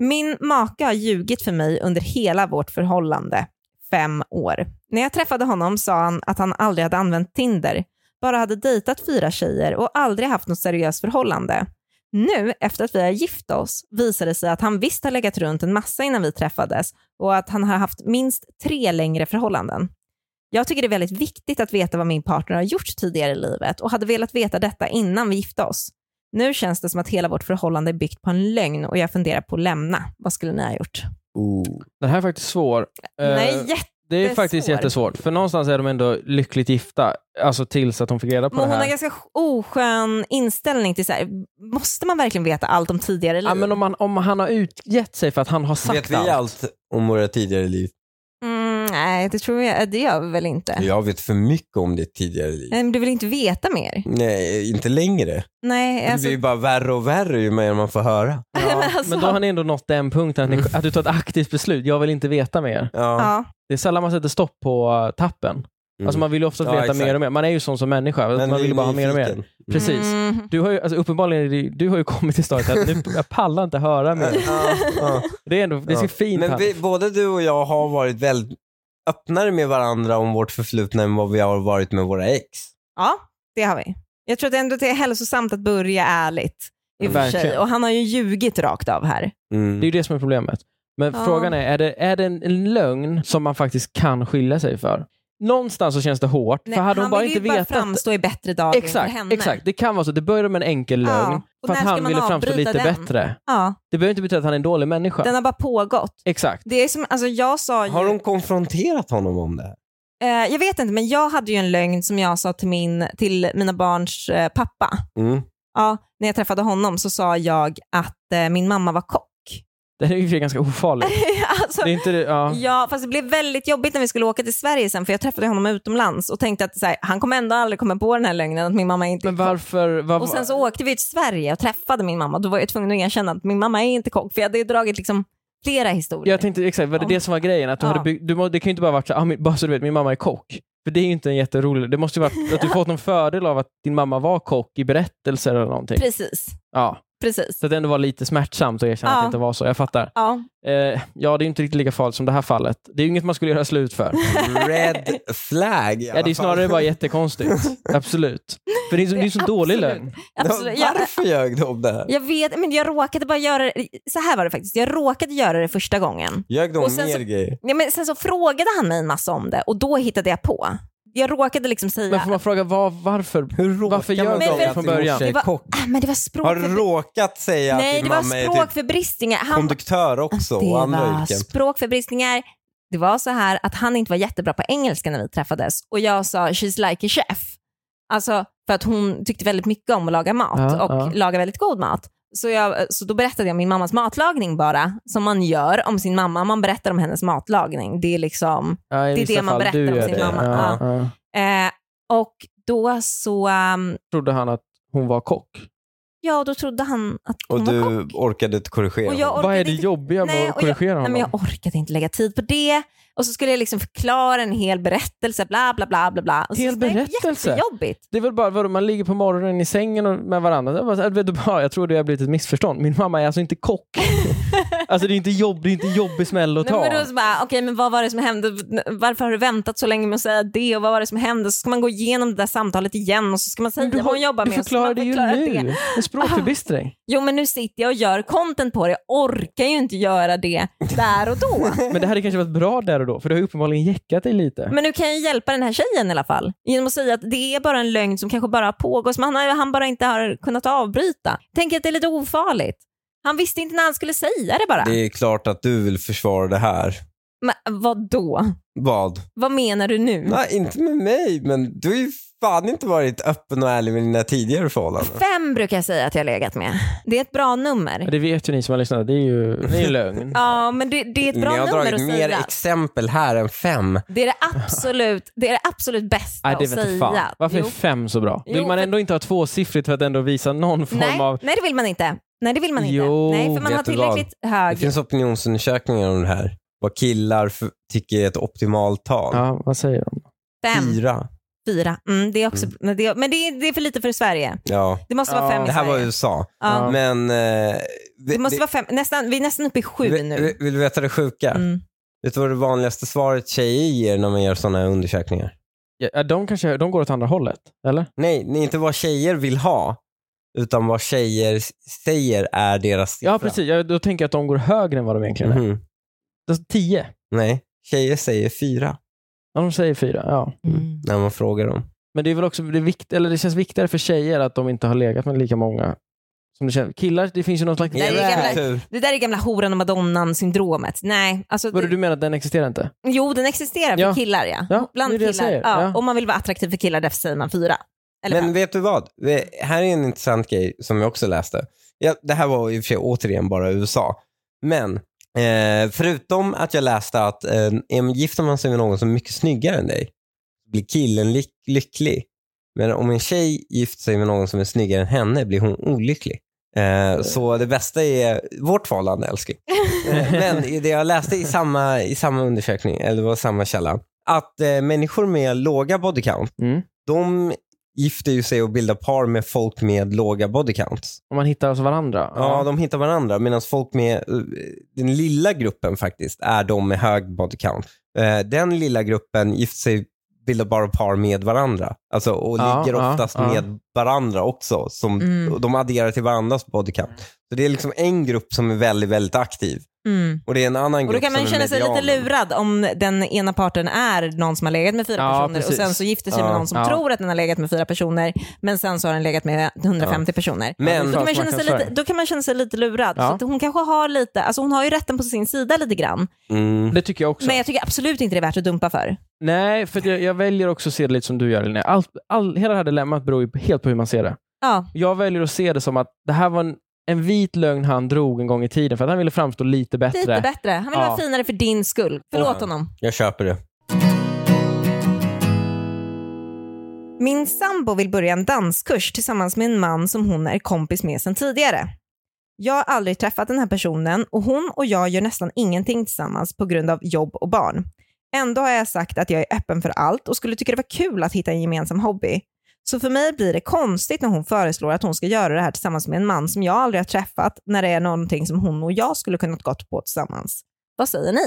B: Min make har ljugit för mig under hela vårt förhållande, fem år. När jag träffade honom sa han att han aldrig hade använt Tinder, bara hade dejtat fyra tjejer och aldrig haft något seriöst förhållande. Nu, efter att vi har gift oss, visade det sig att han visst har legat runt en massa innan vi träffades och att han har haft minst tre längre förhållanden. Jag tycker det är väldigt viktigt att veta vad min partner har gjort tidigare i livet och hade velat veta detta innan vi gifte oss. Nu känns det som att hela vårt förhållande är byggt på en lögn och jag funderar på att lämna. Vad skulle ni ha gjort?
C: Oh.
A: Den här är faktiskt svår. Eh,
B: Nej, jättesvår.
A: Det är faktiskt
B: jättesvår.
A: jättesvårt, för någonstans är de ändå lyckligt gifta. Alltså tills att hon fick reda på
B: Men
A: det
B: hon har
A: här.
B: ganska oskön inställning till så här, måste man verkligen veta allt om tidigare liv?
A: Ja, men om, han, om han har utgett sig för att han har sagt
C: Vet vi
A: allt.
C: allt om våra tidigare liv?
B: mm, nej, det tror jag, det gör vi väl inte.
C: Jag vet för mycket om ditt tidigare liv.
B: Nej, men Du vill inte veta mer?
C: Nej, inte längre.
B: Nej,
C: Det
B: alltså,
C: blir ju bara värre och värre ju mer man får höra.
A: Ja,
B: Men alltså-
A: Men då har ni ändå nått den punkten att, ni,
C: Mm.
A: att du tar ett aktivt beslut. Jag vill inte veta mer.
C: Ja.
B: ja.
A: Det är sällan man sätter stopp på eh, tappen. Alltså man vill ju ofta
C: Mm. Ja,
A: veta
C: exakt.
A: mer och mer. Man är ju sån som människa. man vill ju bara ha mer och mer. Precis.
B: Mm.
A: Du har ju, alltså uppenbarligen är det- du har ju kommit till stadiet att nu, jag pallar inte höra mer.
C: Ja, ja.
A: Det är ändå det är så
C: Ja.
A: fint.
C: Mm. Men
A: Men
C: vi, både du och jag har varit väldigt öppnare med varandra om vårt förflutna än vad vi har varit med våra ex.
B: ja, det har vi. Jag tror att ändå det är hälsosamt att börja ärligt. I och för sig.
A: Verkligen.
B: Och han har ju ljugit rakt av här.
C: Mm.
A: Det är ju det som är problemet. Men
B: Ja.
A: frågan är, är det, är det en, en lögn som man faktiskt kan skilja sig för? Någonstans så känns det hårt.
B: Nej,
A: för hade hon
B: han
A: bara
B: vill
A: inte
B: ju bara
A: vetat...
B: framstå i bättre dagar
A: exakt,
B: för henne.
A: exakt. Det kan vara så. Det började med en enkel
B: Ja.
A: lögn.
B: Och
A: För
B: när
A: att
B: ska
A: han
B: man
A: ville framstå
B: avbryta
A: lite
B: den?
A: bättre.
B: Ja,
A: Det behöver inte betyda att han är en dålig människa.
B: den har bara pågått.
A: Exakt.
B: Det är som, alltså jag sa ju,
C: Har hon konfronterat honom om det här?
B: eh, jag vet inte, men jag hade ju en lögn som jag sa till, min, till mina barns eh, pappa.
C: Mm.
B: Ja, när jag träffade honom så sa jag att eh, min mamma var kock.
A: Det är ju i och för sig ganska ofarligt.
B: alltså,
A: Det är inte det, ja.
B: Ja, fast det blev väldigt jobbigt när vi skulle åka till Sverige sen, för jag träffade honom utomlands och tänkte att så här, han kommer ändå aldrig komma på den här lögnen att min mamma inte
A: Men
B: är kock.
A: varför... Var,
B: Och sen så åkte vi till Sverige och träffade min mamma. Då var jag tvungen att erkänna att min mamma är inte kock, för jag hade ju dragit liksom flera historier.
A: Jag tänkte exakt, var det
B: Om-
A: det som var grejen? Att du
B: Ja.
A: hade byggt, du, må- det kan ju inte bara varit så, ah, min, bara så du vet, min mamma är kock. För det är ju inte en jätterolig... Det måste ju varit att du fått någon fördel av att din mamma var kock i berättelser eller någonting.
B: Precis,
A: Ja.
B: precis.
A: Så att det ändå var lite smärtsamt att erkänna att
B: Ja.
A: det inte var så. Jag fattar.
B: Ja,
A: Eh, ja, det är ju inte riktigt lika farligt som det här fallet. Det är ju inget man skulle göra slut för.
C: Red flag i alla
A: Ja, det är ju
C: fall.
A: snarare bara jättekonstigt. Absolut. För det är ju så- det är ju så dålig
B: Absolut.
A: lögn.
B: absolut. Jag,
C: Varför ljög du om det här?
B: jag vet, men jag råkade bara göra det. Så här var det faktiskt. Jag råkade göra det första gången.
C: Ljög du om
B: Och sen
C: mer
B: så-
C: grejer?
B: Ja, men sen så frågade han mig en massa om det och då hittade jag på. Jag råkade liksom säga...
A: Men får man fråga var, varför?
C: Hur
A: Varför ljög
B: du om det
A: från början?
B: Det var-
C: Kock.
B: Ah, men det var språk...
C: Har du råkat säga att
B: Nej,
C: din
B: det var
C: mamma är typ
B: språkförbristningar. Han,
C: konduktör också
B: det
C: och andra
B: var
C: yrken?
B: språkförbristningar. Det var så här att han inte var jättebra på engelska när vi träffades och jag sa “she's like a chef”. Alltså för att hon tyckte väldigt mycket om att laga mat
A: Ja,
B: och
A: ja.
B: laga väldigt god mat. Så, jag, så då berättade jag min mammas matlagning bara, som man gör om sin mamma. Man berättar om hennes matlagning. Det är liksom...
A: Ja, i
B: det är
A: vissa
B: det man
A: fall,
B: berättar
A: du
B: om
A: gör
B: sin
A: det.
B: mamma.
A: Ja, ja.
B: Eh, och då så... ehm,
A: Trodde han att hon var kock?
B: ja, då trodde han att hon
C: Och
B: var kock.
C: du orkade inte korrigera
B: Och jag
C: honom?
B: orkade
A: Vad är det
B: inte-
A: jobbiga
B: Nej,
A: med att
B: och jag-
A: korrigera
B: Nej,
A: honom?
B: men jag orkade inte lägga tid på det. Och så skulle jag liksom förklara en hel berättelse, bla bla bla. bla, bla. Och så
A: Hel
B: så det är
A: berättelse?
B: Jättejobbigt.
A: Det är väl bara vadå, man ligger på morgonen i sängen och- med varandra. Jag, bara, så här, vet du, bara, jag tror det har blivit ett missförstånd. Min mamma är alltså inte kock. alltså det är inte jobb, det är inte jobbig smäll att
B: Nej,
A: ta.
B: men då så bara, okej men vad var det som hände? Varför har du väntat så länge med att säga det? Och vad var det som hände? Så ska man gå igenom det där samtalet igen och så ska man säga
A: Men du
B: vad
A: har-
B: hon jobbar
A: du
B: med. och så ska man
A: förklarade ju
B: förklara
A: nu.
B: det. Ah.
A: En språkförbistring.
B: Jo men nu sitter jag och gör content på det. Jag orkar ju inte göra det där och då.
A: Men det hade kanske varit bra där och då, för det har ju uppenbarligen jäckat dig lite.
B: Men nu kan jag hjälpa den här tjejen i alla fall. Genom att säga att det är bara en lögn som kanske bara har pågått, som han, har- han bara inte har kunnat avbryta. Tänk att det är lite ofarligt. Han visste inte när han skulle säga det bara.
C: Det är klart att du vill försvara det här.
B: Men vad då?
C: Vad?
B: Vad menar du nu?
C: Nej, inte med mig, men du har ju fan inte varit öppen och ärlig med dina tidigare förhållanden.
B: Fem brukar jag säga att jag har legat med. Det är ett bra nummer.
A: Ja, Det vet ju ni som har lyssnat, det är ju, det är ju lögn.
B: Ja, men det, det är ett bra
C: Ni har
B: nummer att
C: dragit mer
B: säga.
C: exempel här än fem.
B: Det är det absolut, det är det absolut bästa
A: Nej, det
B: att
A: vet jag
B: säga.
A: fan. Varför
B: Jo.
A: är fem så bra? Vill
B: Jo,
A: man
B: för-
A: ändå inte ha tvåsiffrigt för att ändå visa någon form
B: Nej,
A: av...
B: nej, det vill man inte. Nej, det vill man inte.
A: Jo,
B: nej, för man
C: vet
B: har
C: du vad?
B: tillräckligt
C: Det
B: hög.
C: finns opinionsundersökningar om det här. Vad killar för, tycker är ett optimalt tal.
A: Ja, vad säger de?
B: Fem.
C: Fyra.
B: Fyra. Mm, det är också, men det, men det, är, det är för lite för Sverige.
C: Ja.
B: Det måste vara
A: Ja.
B: fem i
C: Det här var
B: Sverige.
C: USA.
B: Ja.
C: Men... Eh,
B: Det måste vara fem, nästan, vi är nästan uppe i sju
C: vill,
B: nu.
C: vill du veta det sjuka?
B: Mm.
C: Vet du vad det vanligaste svaret tjejer ger när man gör sådana här undersökningar?
A: Ja, de, kanske, de går åt andra hållet, eller?
C: Nej, det är inte vad tjejer vill ha, utan vad tjejer s- säger är deras siffra.
A: Ja, precis. Ja, då tänker jag att de går högre än vad de egentligen är.
C: Mhm.
A: Alltså, tio.
C: Nej, tjejer säger fyra
A: Ja, de säger fyra. Ja.
B: Mm.
C: när man frågar dem.
A: Men det är väl också det är vikt, eller det känns viktigare för tjejer att de inte har legat med lika många Som det känns. Killar, det finns ju någon slags...
B: Nej, det är
C: Jävla
B: gamla-
C: kultur.
B: Det där är gamla horan och madonnan syndromet. Nej, alltså,
A: Vadå,
B: det-
A: du menar att den existerar inte?
B: jo den existerar för
A: Ja.
B: killar ja.
A: Ja,
B: Bland
A: det är det jag
B: killar.
A: säger.
B: Ja.
A: Ja.
B: Om man vill vara attraktiv för killar därför säger man fyra. Eller
C: Men
B: fem.
C: vet du vad? Det- Här är en intressant grej som jag också läste. Ja, det här var i och för sig återigen bara USA. Men eh, förutom att jag läste att eh, em, gifter man sig med någon som är mycket snyggare än dig blir killen ly- lycklig. Men om en tjej gifter sig med någon som är snyggare än henne blir hon olycklig. Eh, så det bästa är vårt förhållande älskling. Eh, men i det jag läste i samma, i samma undersökning, eller det var samma källa, att eh, människor med låga body count
A: Mm.
C: de gifter ju sig och bildar par med folk med låga body counts.
A: Om man hittar alltså varandra?
C: Ja, de hittar varandra medan folk med eh, den lilla gruppen faktiskt är de med hög body count. Eh, Den lilla gruppen gifter sig bildar bara par med varandra. Alltså, och
A: Ja,
C: ligger
A: ja,
C: oftast
A: ja.
C: med varandra också. Som,
B: Mm.
C: och De adderar till varandras body count. Så det är liksom en grupp som är väldigt, väldigt aktiv.
B: Mm.
C: Och det är en annan
B: Och
C: grupp
B: då kan man
C: som
B: ju
C: är
B: känna sig lite
C: medianen.
B: lurad om den ena parten är någon som har legat med fyra
A: Ja,
B: personer och
A: precis.
B: sen så gifter sig med
C: Ja.
B: någon som
A: Ja.
B: tror att den har legat med fyra personer men sen så har den legat med 150 personer.
A: Ja,
C: Men
A: det är
B: Då kan, man
A: Falsk
B: känna sig lite,
A: marknadsföring.
B: då kan man känna sig lite lurad.
A: Ja.
B: Så att hon kanske har lite, alltså hon har ju rätten på sin sida lite grann.
C: Mm.
A: Det tycker jag också.
B: Men jag tycker absolut inte det är värt att dumpa för.
A: Nej, för jag, jag väljer också att se det lite som du gör Linnea. Allt, all, hela det här dilemmat beror ju på- helt på hur man ser det.
B: Ja,
A: Jag väljer att se det som att det här var en, en vit lögn han drog en gång i tiden för att han ville framstå lite bättre.
B: lite bättre. Han vill
A: Ja.
B: vara finare för din skull. Förlåt
C: Ja.
B: honom.
C: Jag köper det.
B: Min sambo vill börja en danskurs tillsammans med en man som hon är kompis med sedan tidigare. Jag har aldrig träffat den här personen och hon och jag gör nästan ingenting tillsammans på grund av jobb och barn. Ändå har jag sagt att jag är öppen för allt och skulle tycka det var kul att hitta en gemensam hobby. Så för mig blir det konstigt när hon föreslår att hon ska göra det här tillsammans med en man som jag aldrig har träffat när det är någonting som hon och jag skulle kunnat gått på tillsammans. Vad säger ni?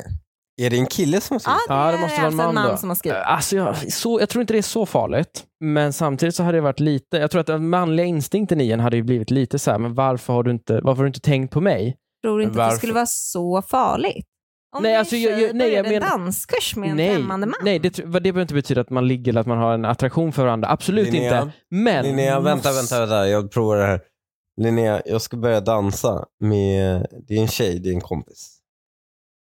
C: Är det en kille som har skrivit?
A: Ja, det måste vara
B: är
A: en
B: alltså
A: man,
B: en man
A: då.
B: som har skrivit.
A: Eh, Alltså jag, så, jag tror inte det är så farligt, men samtidigt så hade det varit lite... Jag tror att den manliga instinkten i en hade ju blivit lite så här, men varför har du inte, varför har du inte tänkt på mig?
B: tror inte att det
C: Varför?
B: skulle vara så farligt. Om
A: Nej,
B: nej,
A: alltså,
B: alltså,
A: jag- jag- nej, jag
B: en
A: menar-
B: danskurs med en
A: nej,
B: främmande man.
A: nej det, tr- vad- det behöver inte betyda att man ligger eller att man har en attraktion för varandra. Absolut
C: Linnea.
A: inte. Men...
C: Linnea, vänta,
A: Måste-
C: vänta, vänta. Jag provar det här. Linnea, jag ska börja dansa med din tjej, din kompis.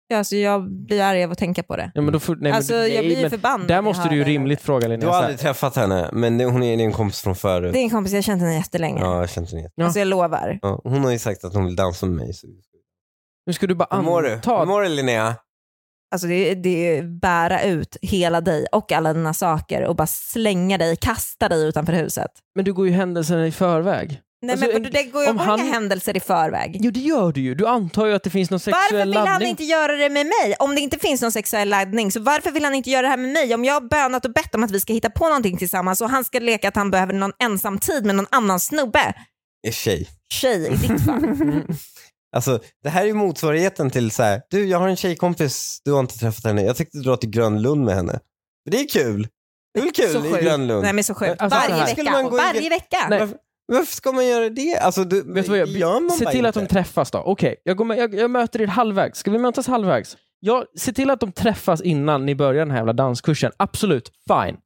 B: Ja, alltså, jag blir arg av att tänka på det.
A: Ja, men då får, nej, men-
B: alltså, jag
A: nej,
B: blir ju
A: men
B: förbannad.
A: Där
B: när jag
A: måste du ju
B: hör det.
A: rimligt fråga Linnea.
C: Du har
A: så här,
C: aldrig träffat henne, men det- hon är din kompis från förut.
B: Det är en kompis, jag har känt henne jättelänge.
C: Ja, jag känner det.
A: Ja.
B: Alltså, jag lovar.
C: Ja, hon har ju sagt att hon vill dansa med mig. Så...
A: Nu ska du bara
C: Hur mår du?
A: anta
C: Hur mår du Linnea?
B: Alltså, det, är- det är bära ut hela dig och alla dina saker och bara slänga dig, kasta dig utanför huset.
A: Men du går ju händelserna i förväg.
B: Nej,
A: Alltså,
B: men det går ju
A: om
B: många
A: han-
B: händelser i förväg.
A: Jo, det gör du ju. Du antar ju att det finns någon
B: Varför
A: sexuell
B: vill han
A: laddning.
B: inte göra det med mig? Om det inte finns någon sexuell laddning, så varför vill han inte göra det här med mig? Om jag har bönat och bett om att vi ska hitta på någonting tillsammans och han ska leka att han behöver någon ensam tid med någon annan snubbe,
C: Är tjej.
B: tjej i ditt fall.
A: Mm.
C: Alltså, det här är ju motsvarigheten till så här, du jag har en tjejkompis, du har inte träffat henne. Jag tänkte dra till Grönlund med henne. Men Det är kul. Det är väl
B: Så
C: kul i
B: sjukt.
C: Grönlund?
B: Nej men så sjukt.
A: Alltså, så
B: varje,
A: här.
C: Skulle man
B: vecka.
C: gå i-
B: varje vecka.
A: Nej.
C: Varför, varför ska man göra det? Alltså, du,
A: Vet du vad jag,
C: gör man
A: se
C: bara
A: till att
C: inte.
A: de träffas då. Okej, jag, går med- jag, jag möter er halvvägs. Ska vi mötas halvvägs? Ja, se till att de träffas innan ni börjar den här jävla danskursen. Absolut, fine.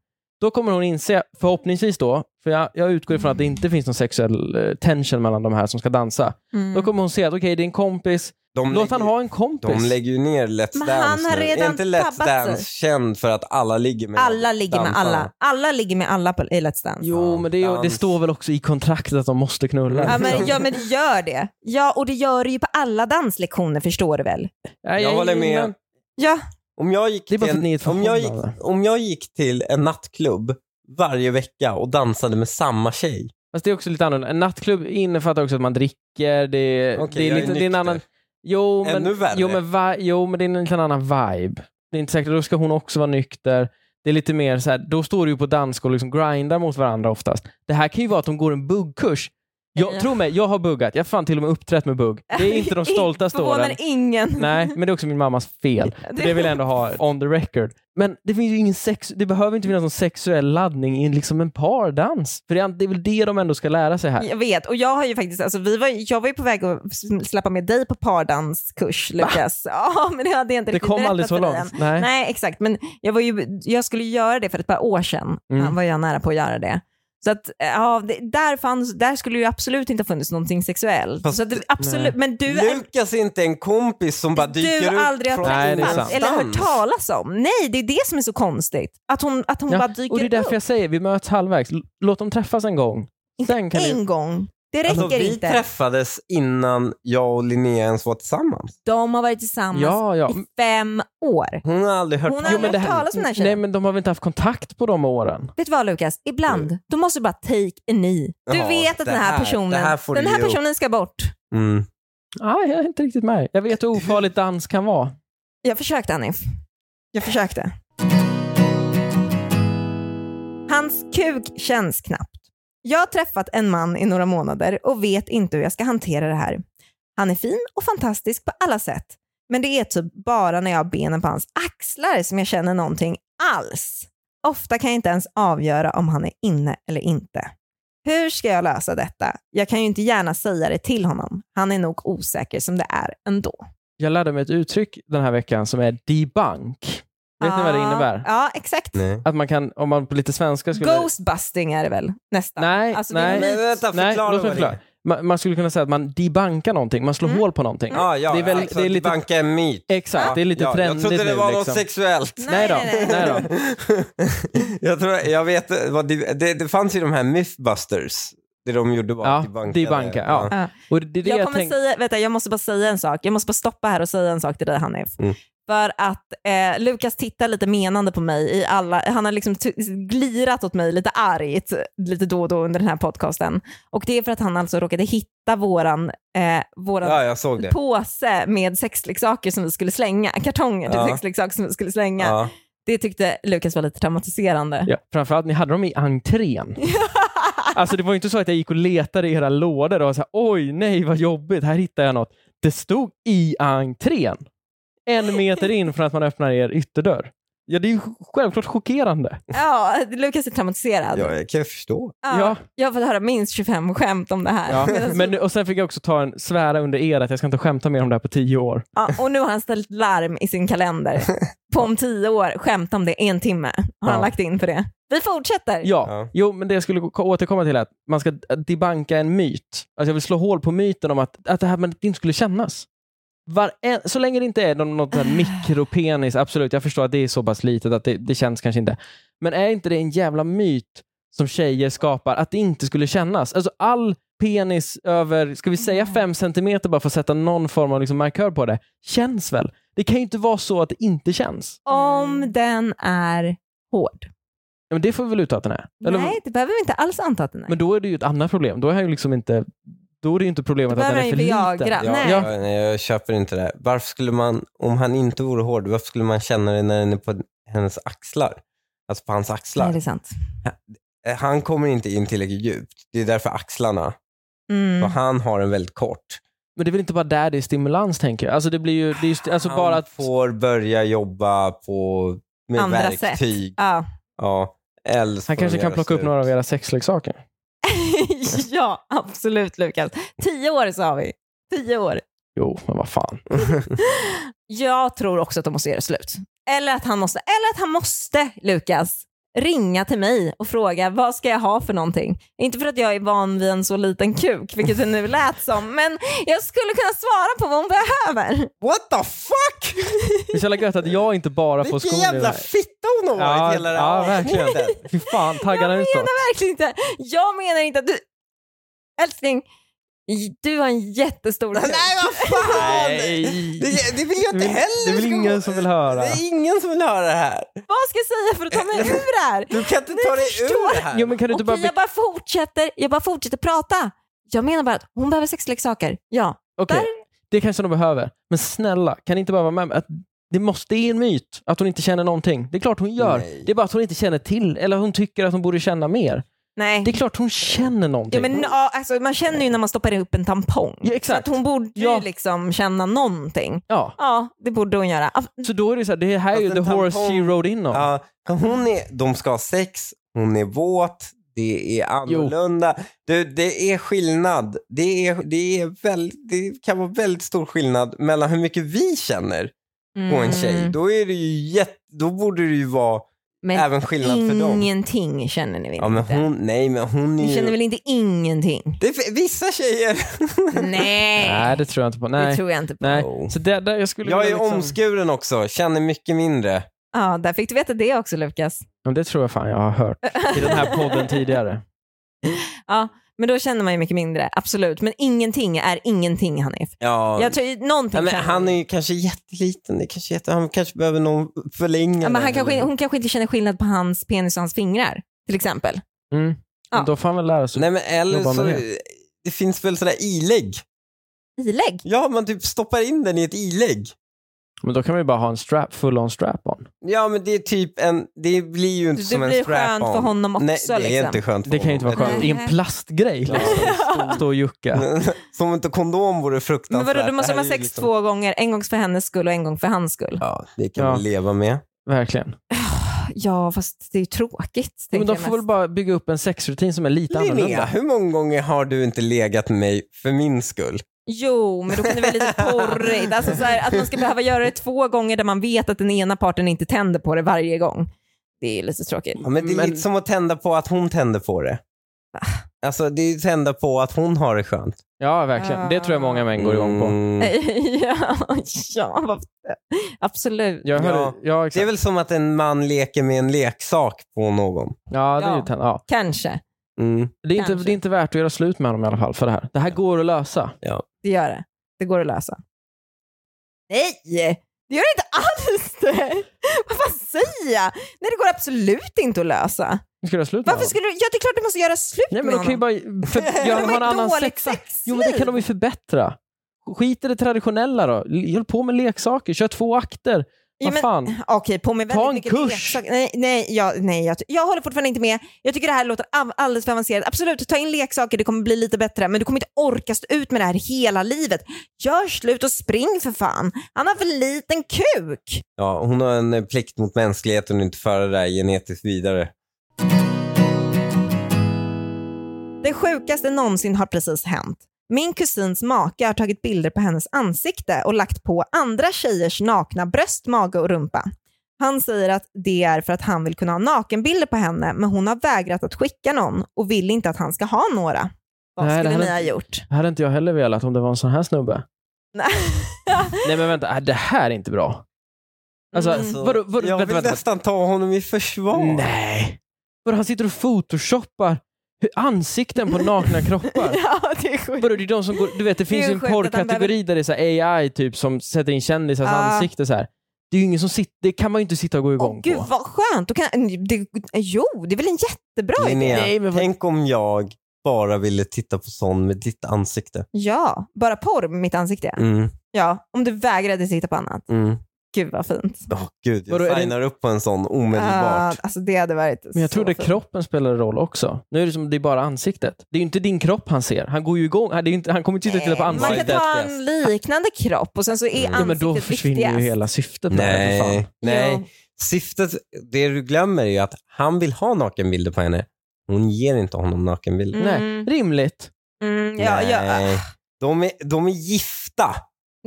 A: Då kommer hon inse, förhoppningsvis då, för jag, jag utgår ifrån att det inte finns någon sexuell eh, tension mellan de här som ska dansa.
B: Mm.
A: Då kommer hon se att okej, det är en kompis.
C: De
A: Låt
C: lägger-
A: han ha en
C: De
A: kompis.
C: lägger ju ner Let's
B: Men
C: Dance
B: han har
C: nu. Är
B: redan
C: inte Let's
B: tabbat
C: Dance
B: sig.
C: känd för att alla ligger med
B: Alla ligger med
C: dansarna?
B: alla. Alla ligger med alla på, i Let's Dance.
A: jo, men det, är ju- det
C: Dans.
A: står väl också i kontraktet att de måste knulla.
B: Ja men, ja men det gör det. Ja och det gör det ju på alla danslektioner förstår du väl?
A: Nej,
C: Jag håller med.
A: men-
B: Ja.
C: Om jag gick
A: Det är bara
C: till
A: för att ni är
C: en,
A: ett
C: om jag gick,
A: förhållande.
C: om jag gick till en nattklubb varje vecka och dansade med samma tjej.
A: Fast det är också lite annorlunda. En nattklubb innefattar också att man dricker, det är,
C: Okej,
A: det
C: jag
A: är,
C: är
A: lite, det är en
C: nykter.
A: annan... Jo, men,
C: Ännu värre.
A: jo, men, va, jo, men det är en lite annan vibe. Det är inte säkert, då ska hon också vara nykter. Det är lite mer så här, då står du ju på dansk och liksom grindar mot varandra oftast. Det här kan ju vara att de går en buggkurs. Jag,
B: Ja.
A: Tro mig, jag har buggat. Jag har fan till och med uppträtt med bugg. Det är inte de stoltaste
B: Förvånar
A: åren.
B: ingen.
A: Nej, men det är också min mammas fel. För Det vill jag ändå ha on the record. Men det finns ju ingen sex, det behöver inte finnas någon sexuell laddning i liksom en pardans. För det är, det är väl det de ändå ska lära sig här.
B: Jag vet, och jag har ju faktiskt, alltså, vi var, jag var ju på väg att s- släppa med dig på pardanskurs Lukas. Ja, men det hade jag inte
A: Det
B: riktigt
A: kom
B: berättat
A: aldrig så
B: för dig än.
A: långt. Nej.
B: Nej, exakt. Men jag, var ju, jag skulle göra det för ett par år sedan.
A: Mm.
B: Ja, var jag nära på att göra det. Så att, eh, ja, det, där, fanns, där skulle ju absolut inte ha funnits någonting sexuellt.
C: Fast
B: så att, det- absolut, men du är
C: Lukas är inte en kompis som bara
B: du
C: dyker upp
B: aldrig har
C: från
A: Nej, det är
B: träffat
A: sant.
B: eller hört
C: ingenstans.
B: talas om. Nej, det är det som är så konstigt. Att hon, att hon bara dyker
A: och det är därför
B: upp.
A: jag säger, vi möts halvvägs. L- Låt dem träffas en gång. Sen kan
B: en
A: vi...
B: gång. Det räcker
C: Alltså, vi
B: inte.
C: träffades innan jag och Linnea ens var tillsammans.
B: De har varit tillsammans
A: Ja, ja.
B: i fem år.
C: Hon har aldrig hört
B: Hon
C: talas
B: har
C: om
B: aldrig
A: det
B: hört
A: här-
B: talas om den här tjejen.
A: Nej, men de har väl inte haft kontakt på de åren?
B: Vet du vad Lukas? Ibland, då måste du bara take a knee. Du
C: Ja,
B: vet att
C: det
B: den här
C: här- det
B: personen,
C: här får
B: den
C: du
B: här
C: ge upp.
B: personen ska bort.
C: Mm.
A: Nej, jag är inte riktigt med. Jag vet hur ofarligt dans kan vara.
B: Jag försökte Hanif. Jag försökte. Hans kuk känns knappt. Jag har träffat en man i några månader och vet inte hur jag ska hantera det här. Han är fin och fantastisk på alla sätt. Men det är typ bara när jag har benen på hans axlar som jag känner någonting alls. Ofta kan jag inte ens avgöra om han är inne eller inte. Hur ska jag lösa detta? Jag kan ju inte gärna säga det till honom. Han är nog osäker som det är ändå.
A: Jag lärde mig ett uttryck den här veckan som är debunk. Vet ni vad det
B: Ja,
A: innebär?
B: Ja, exakt.
C: Nej.
A: Att man kan, om man på lite svenska skulle...
B: Ghostbusting är det väl nästan?
A: Nej,
B: Alltså,
A: nej.
B: det är
C: Men
B: en myt.
C: vänta,
A: Nej,
C: förklara
A: låt mig
C: vad det
A: förklara.
C: är.
A: Man, man skulle kunna säga att man debankar någonting, man slår
B: Mm.
A: hål på någonting.
C: Ja, ja,
A: Det är väl-
C: alltså,
A: det är lite-
C: banka en myt.
A: Exakt, det är lite
C: ja, Jag
A: trendigt
C: trodde det
A: nu,
C: var något
A: liksom.
C: sexuellt.
A: Nej då,
B: Nej, nej, nej.
A: nej då.
C: jag, tror, jag vet, vad det, det, det fanns ju de här Mythbusters. Det de gjorde var
A: Ja,
C: att debunka.
A: debunka,
C: det.
A: ja. Och det, det är det
B: Jag
A: jag,
B: kommer
A: tänk-
B: säga, vänta, jag måste bara säga en sak. Jag måste bara stoppa här och säga en sak till dig Hanif.
C: Mm.
B: För att eh, Lukas tittar lite menande på mig i alla, han har liksom t- glirat åt mig lite argt lite då och då under den här podcasten. Och det är för att han alltså råkade hitta våran, eh, våran
C: Ja, jag såg det.
B: påse med sexleksaker som vi skulle slänga, kartonger till
C: Ja.
B: sexleksaker som vi skulle slänga.
C: Ja.
B: Det tyckte Lukas var lite traumatiserande.
A: Ja, framförallt, ni hade dem i entrén. alltså det var ju inte så att jag gick och letade i era lådor och var så här, oj nej vad jobbigt, här hittar jag något. Det stod i entrén. En meter in från att man öppnar er ytterdörr. Ja, det är ju självklart chockerande.
B: Ja, Lukas är traumatiserad.
C: ja, jag kan förstå.
B: Ja,
A: Ja.
B: Jag har fått höra minst 25 skämt om det här. Medan-
A: Men, nu- och sen fick jag också ta en svära under er att jag ska inte skämta mer om det här på tio år.
B: ja, och nu har han ställt larm i sin kalender. På om tio år, skämt om det, en timme har han
A: Ja.
B: lagt in på det. Vi fortsätter.
A: Ja,
C: Ja.
A: jo, men det jag skulle ko- återkomma till är att man ska debanka en myt. Alltså jag vill slå hål på myten om att, att det här med att det inte skulle kännas. Varen, så länge det inte är någon, något sånt här mikropenis, absolut, jag förstår att det är så pass litet att det, det känns kanske inte. Men är inte det en jävla myt som tjejer skapar, att det inte skulle kännas? Alltså all penis över, ska vi säga fem centimeter bara för att sätta någon form av liksom markör på det, känns väl? Det kan ju inte vara så att det inte känns.
B: Om den är hård.
A: Ja, Men det får vi väl utta att den är? Eller-
B: Nej, det behöver vi inte alls anta att den är.
A: Men då är det ju ett annat problem. Då är han ju liksom inte... Då är det ju inte problemet
B: Då
A: att den
B: behöver
A: är
B: han
A: för
B: ju
A: liten.
B: Viagra.
A: Ja.
C: Ja,
B: Nej.
C: ja, nej, jag köper inte det. Varför skulle man, om han inte vore hård, varför skulle man känna det när den är på hennes axlar? Alltså på hans
B: Nej,
C: axlar.
B: det är sant.
C: Eh, Han kommer inte in tillräckligt djupt. Det är därför axlarna.
B: Mm.
C: För han har den väldigt kort.
A: Men det är väl inte bara där det är stimulans, tänker jag. Alltså det blir ju... Det är ju sti- alltså
C: han
A: bara att...
C: får börja jobba på, med
B: Andra
C: verktyg.
B: Ja.
C: Ja. Eller så
A: Han
C: får
A: kanske
C: de
A: kan
C: göra
A: plocka upp
C: slut.
A: några av era sexleksaker.
B: ja, absolut Lukas. Tio år sa vi. Tio år.
A: Jo, men vad fan.
B: Jag tror också att de måste göra slut. Eller att han måste, eller att han måste, Lukas, ringa till mig och fråga vad ska jag ha för någonting? Inte för att jag är van vid en så liten kuk, vilket det nu lät som, men jag skulle kunna svara på vad hon behöver.
C: What the fuck?
A: Det är så jävla gött att jag inte bara får skon
C: Vilken
A: i det
C: jävla
A: här.
C: fitta hon har
A: Ja,
C: varit hela det här
A: ja, verkligen.
C: avsnittet.
A: Fy fan,
B: Jag
A: taggarna utåt.
B: menar verkligen inte, jag menar inte att du... Älskling, du har en jättestor kuk.
C: Nej, vad fan! Det, det vill jag
A: Det
C: inte
A: vill-
C: heller.
A: Mm, det vill
C: ska-
A: ingen som vill höra.
C: Det är ingen som vill höra det här.
B: Vad ska jag säga för att ta mig ur det här?
C: Du kan inte
B: Ni
C: ta dig
B: förstår.
C: ur det här.
A: Jo, men kan du inte
B: Okej,
A: bara... Be-
B: jag bara fortsätter, jag bara fortsätter prata. Jag menar bara att hon behöver sexleksaker. Ja,
A: Okej,
B: där-
A: det kanske de behöver. Men snälla, kan ni inte bara vara med? om Att det måste det är en myt att hon inte känner någonting. Det är klart hon gör.
C: Nej.
A: Det är bara att hon inte känner till, eller hon tycker att hon borde känna mer.
B: nej.
A: Det är klart hon känner
B: Ja,
A: någonting.
B: men, ja, alltså, man känner ju när man stoppar upp en tampong.
A: Ja, exakt.
B: Så att hon borde ju
A: Ja.
B: liksom känna någonting.
A: Ja.
B: Ja, det borde hon göra. Ah,
A: Så då är det så här, det här är ju
C: Fast
A: the
C: en
A: horse
C: tampong-
A: she rode in on.
C: Ja, hon är, de ska ha sex, hon är våt, det är annorlunda. Du, det är skillnad. Det, är, det, är väl, det kan vara väldigt stor skillnad mellan
B: Mm.
C: hur mycket vi känner på en tjej. Då, är det ju jätte, då borde det ju vara
B: Men
C: Även skillnad för dem.
B: ingenting känner ni väl
C: Ja, men
B: inte?
C: hon, nej, men hon är
B: Ni
C: ju...
B: känner väl inte ingenting?
C: Det är f- vissa tjejer.
B: Nej,
A: Nej, det tror jag inte på.
B: det
A: Nej.
B: tror jag inte på.
A: Nej.
C: Oh.
A: Så det, där jag skulle
C: Jag är
A: vilja liksom-
C: omskuren också, känner mycket mindre.
B: Ja, där fick du veta det också Lukas.
A: Men det tror jag fan jag har hört i den här podden tidigare.
B: Ja, men då känner man ju mycket mindre, absolut. Men ingenting är ingenting Hanif.
C: Ja.
B: Jag tror ju- någonting
C: ja, men
B: känner-
C: han är ju kanske jätteliten, det är kanske jätte... han kanske behöver någon förlänga
B: ja, men han
C: den,
B: kanske,
C: eller-
B: hon kanske inte känner skillnad på hans penis och hans fingrar, till exempel.
A: Mm.
B: Ja.
A: Men då får han väl lära sig.
C: Nej, men eller
A: Jobba
C: så...
A: med
C: Det finns väl sådär ilägg?
B: Ilägg?
C: Ja, man typ stoppar in den i ett ilägg.
A: Men då kan man ju bara ha en strap, full on strap on.
C: Ja, men det är typ en... Det blir ju inte
B: Det
C: som en
B: blir
C: strap-on.
B: skönt för honom också,
C: Nej, det är
B: liksom.
C: inte skönt för
A: Det kan ju inte vara
C: honom.
A: skönt. Det är en plastgrej liksom. Stå och jucka.
C: Som inte kondom vore fruktansvärt.
B: Men vadå, då
C: Det
B: måste
C: här
B: man
C: är
B: sex
C: ju liksom-
B: två gånger. En gång för hennes skull och en gång för hans skull.
C: Ja, det kan
A: Ja.
C: man leva med.
A: Verkligen.
B: Ja, fast det är ju tråkigt.
A: Men
B: tänker
A: de
B: jag
A: får
B: mest.
A: väl bara bygga upp en sexrutin som är lite
C: Linnea,
A: annorlunda.
C: hur många gånger har du inte legat med mig för min skull?
B: Jo, men då kan det vara lite porrigt. Alltså så här, att man ska behöva göra det två gånger där man vet att den ena parten inte tänder på det varje gång. Det är ju lite tråkigt.
C: Ja, men det är liksom-
A: Men-
C: lite som att tända på att hon tänder på det. Alltså det är ju tända på att hon har det skönt.
A: Ja, verkligen. Det tror jag många män går igång på.
C: Mm.
B: ja, ja, varför- absolut.
A: Jag hörde, ja.
C: Ja.
A: exakt.
C: Det är väl som att en man leker med en leksak på någon.
A: Ja, det är ju
B: Ja.
A: ten- ja.
B: Kanske,
C: Mm.
A: Det är, inte,
B: Kanske.
A: det är inte värt att göra slut med honom i alla fall för det här. Det här går att lösa.
B: det gör det. Det går att lösa. Nej, det gör det inte alls det. Vad fan säger jag? Nej, det går absolut inte att lösa.
A: Nu ska du göra slut med
B: Varför
A: honom.
B: skulle du? Ja, det är klart du måste göra slut
A: Nej, men
B: med
A: de kan ju
B: honom.
A: bara för, göra, ha en annan sex. Jo, men det kan de ju förbättra. Skit i det traditionella då. L- Håll på med leksaker. Kör två akter. Vad fan.
B: Okej, på med
A: Ta
B: väldigt
A: en
B: mycket
A: kurs.
B: leksaker. Nej, nej, jag, nej jag, jag håller fortfarande inte med. Jag tycker det här låter av- alldeles för avancerat. Absolut, ta in leksaker, det kommer bli lite bättre. Men du kommer inte orka stå ut med det här hela livet. Gör slut och spring för fan. Han har för liten kuk.
C: Ja, hon har en eh, plikt mot mänskligheten att inte föra det där genetiskt vidare.
A: Mm.
B: Det sjukaste någonsin har precis hänt. Min kusins make har tagit bilder på hennes ansikte och lagt på andra tjejers nakna bröst, mage och rumpa. Han säger att det är för att han vill kunna ha nakenbilder på henne, men hon har vägrat att skicka någon och vill inte att han ska ha några. Vad
A: Nej, det
B: skulle
A: här
B: ni
A: är-
B: ha gjort?
A: Det hade inte jag heller velat om det var en sån här snubbe.
B: Nej.
A: Nej, men vänta. Äh, Det här är inte bra. Alltså,
B: Mm.
A: vadå, vadå,
C: jag
A: vänta,
C: vill
A: vänta.
C: nästan ta honom i försvar.
A: Nej. Vadå, han sitter och photoshoppar hu- ansikten på nakna kroppar.
B: ja, det är sjukt.
A: Vadå, det är de som går, du vet, det
B: Det är
A: finns ju en
B: sjukt att han
A: porrkategori där det är så här AI typ som sätter in kändisars
B: Ja.
A: ansikte så här. Det är ju ingen som sitter, det kan man ju inte sitta och gå igång
B: Åh, gud
A: på.
B: vad skönt. Då kan, det, jo, det är väl en jättebra idé?
C: Linnea,
A: Nej, men vad-
C: tänk om jag bara ville titta på sån med ditt ansikte.
B: Ja, bara porr med mitt ansikte.
C: Mm,
B: Ja, om du vägrade titta på annat.
C: mm.
B: Gud vad fint.
C: Åh gud, jag
A: Vadå, är det-
C: signar upp på en sån omedelbart.
B: Ah, alltså det hade varit
A: Men jag
B: så
A: trodde
B: fint.
A: kroppen spelade roll också. Nu är det som det är bara ansiktet. Det är ju inte din kropp han ser. Han går ju igång. Han, det är ju inte, han kommer inte sitta och titta på
B: Nej, Eh, Man
A: ansiktet.
B: kan
C: ansiktet.
B: ta en liknande kropp och sen så är
C: Mm.
B: ansiktet
A: Ja, men då försvinner
B: viktigast.
A: ju hela syftet med Ah, det. för fan.
C: Nej, nej.
B: Jo.
C: Syftet, det du glömmer är ju att han vill ha nakenbilder på henne. Hon ger inte honom nakenbilder.
B: Mm.
A: Nej, rimligt.
B: Mm, ja, ja.
C: Nej. De, är, de är gifta.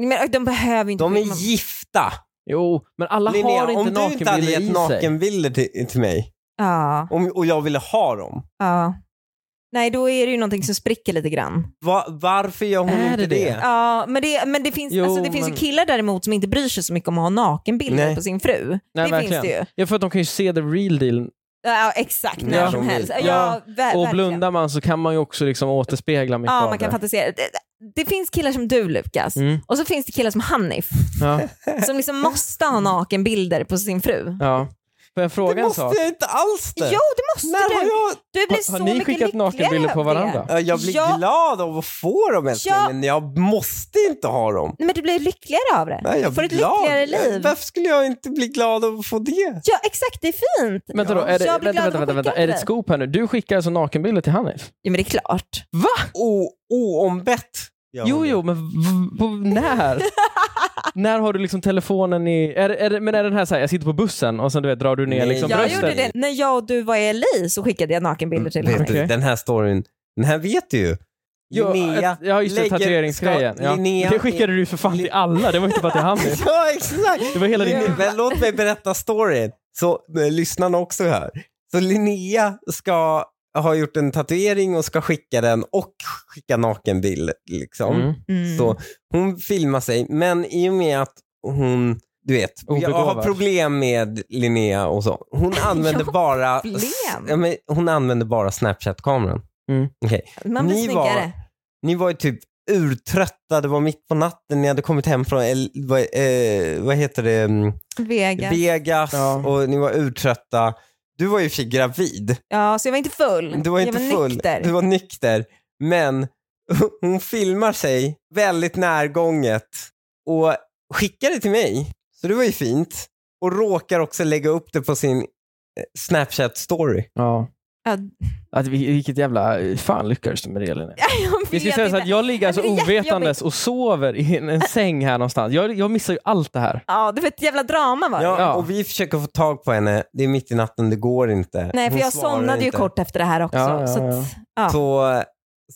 B: Men de behöver ju inte...
C: De är
B: man-
C: gifta.
A: Jo, men alla har
C: Linnea,
A: inte
C: om du inte hade
A: nakenbilder i
C: gett
A: sig.
C: nakenbilder till, till mig
B: Ja,
C: om, och jag ville ha dem,
B: ja. Nej, då är det ju någonting som spricker lite grann.
C: va, varför gör hon
A: Är det
C: inte
A: det?
C: det?
B: Ja, men det, men det finns,
A: Jo,
B: alltså, det finns
A: men-
B: ju killar däremot som inte bryr sig så mycket om att ha nakenbilder
C: Nej.
B: på sin fru. det
A: verkligen.
B: finns det ju.
A: Ja, för att de kan ju se the real deal.
B: Ja, exakt. När
A: Ja.
B: som helst. Ja,
A: Ja,
B: ver- Äh, verkligen.
A: Och blundar man så kan man ju också liksom återspegla mycket
B: Ja,
A: av
B: man kan
A: det.
B: fantisera. Det, det finns killar som du, Lukas.
A: Mm,
B: Och så finns det killar som Hanif.
A: ja,
B: som liksom måste ha nakenbilder på sin fru.
A: ja. Får jag
C: Det
A: fråga en
C: måste
A: sak?
C: jag inte alls det.
B: Jo, det måste
C: När har
B: du.
C: jag...
B: Du blir
A: Har- har
B: så
A: ni
B: mycket
A: skickat
B: lyckligare
A: nakenbilder på
B: av det.
A: varandra?
C: Ja, Jag blir
B: Ja.
C: glad av att få dem älskling,
B: Ja.
C: men jag måste inte ha dem.
B: Nej, Men du blir lyckligare av det.
C: Nej, jag
B: du får
C: blir
B: ett
C: glad. Eh,
B: lyckligare liv.
C: Varför skulle jag inte bli glad av att få det?
B: Ja, exakt. Det är fint.
A: Vänta då, är det,
B: jag
A: vänta,
B: blir glad
A: vänta,
B: att
A: vänta,
B: skicka
A: vänta.
B: till
A: Är det
B: dig.
A: ett scoop här nu? Du skickar alltså nakenbilder till Hanif?
B: Ja, men det är klart.
C: O, oombett. gör hon
A: Jo,
C: det.
A: jo, men v- på, när? när har du liksom telefonen i... Är, det- är, det- men är den här så här, jag sitter på bussen och sen du vet, drar du ner
C: Nej,
A: liksom
C: jag
B: Jag
A: bröstet?
B: gjorde det. När jag och du var i LA så skickade jag nakenbilder till
C: Vet
B: honom.
C: du,
A: Okej.
C: Den här storyn, den här vet du ju.
A: Jo,
C: Linnea
A: ett- ja, just det,
C: lägger-
A: tatueringsgrejen.
C: ska-
A: Ja.
C: Linnea,
A: Det skickade du för fan till alla, det var inte bara till Hanif.
C: Ja, exakt.
A: Det var hela din...
C: Men låt mig berätta storyn. så eh, lyssnarna också här. Så Linnea ska ha gjort en tatuering och ska skicka den och skicka nakenbild. Liksom.
A: Mm.
B: Mm.
C: Så hon filmar sig, men i och med att hon, du vet, jag har
A: Obegåvad.
C: problem med Linnea och så. Hon använder bara,
B: problem?
C: ja, men hon använder bara Snapchat-kameran.
A: Mm.
C: Okej.
B: Man blir
C: ni var-
B: snyggare.
C: Ni var ju typ urtrötta, det var mitt på natten, ni hade kommit hem från, El, vad, eh, vad heter det, Mm,
B: Vega.
C: Vegas
A: Ja.
C: och ni var urtrötta. Du var ju i och för sig gravid.
B: ja, så jag var inte full.
C: Du var inte
B: jag var
C: full.
B: Mm. nykter.
C: Du var nykter. Men hon filmar sig väldigt närgånget och skickar det till mig. Så det var ju fint. Och råkar också lägga upp det på sin eh, Snapchat-story.
A: Ja.
B: Ja,
A: Att vi, vilket jävla... eh, Fan lyckades du med det Linnea?
B: jag
A: Vi ska
B: vet
A: säga så
B: inte.
A: att jag ligger alltså
B: Det är jättejobbigt.
A: ovetandes och sover i en, en säng här någonstans. Jag, jag missar ju allt det här.
B: Ja, det var ett jävla drama var det.
C: Ja,
A: Ja.
C: Och vi försöker få tag på henne. Det är mitt i natten, det går inte.
B: Nej, för
C: Hon
B: jag
C: svarar
B: somnade ju
C: inte.
B: kort efter det här också.
A: Ja, ja,
B: så
A: ja.
B: att, ja.
C: Så,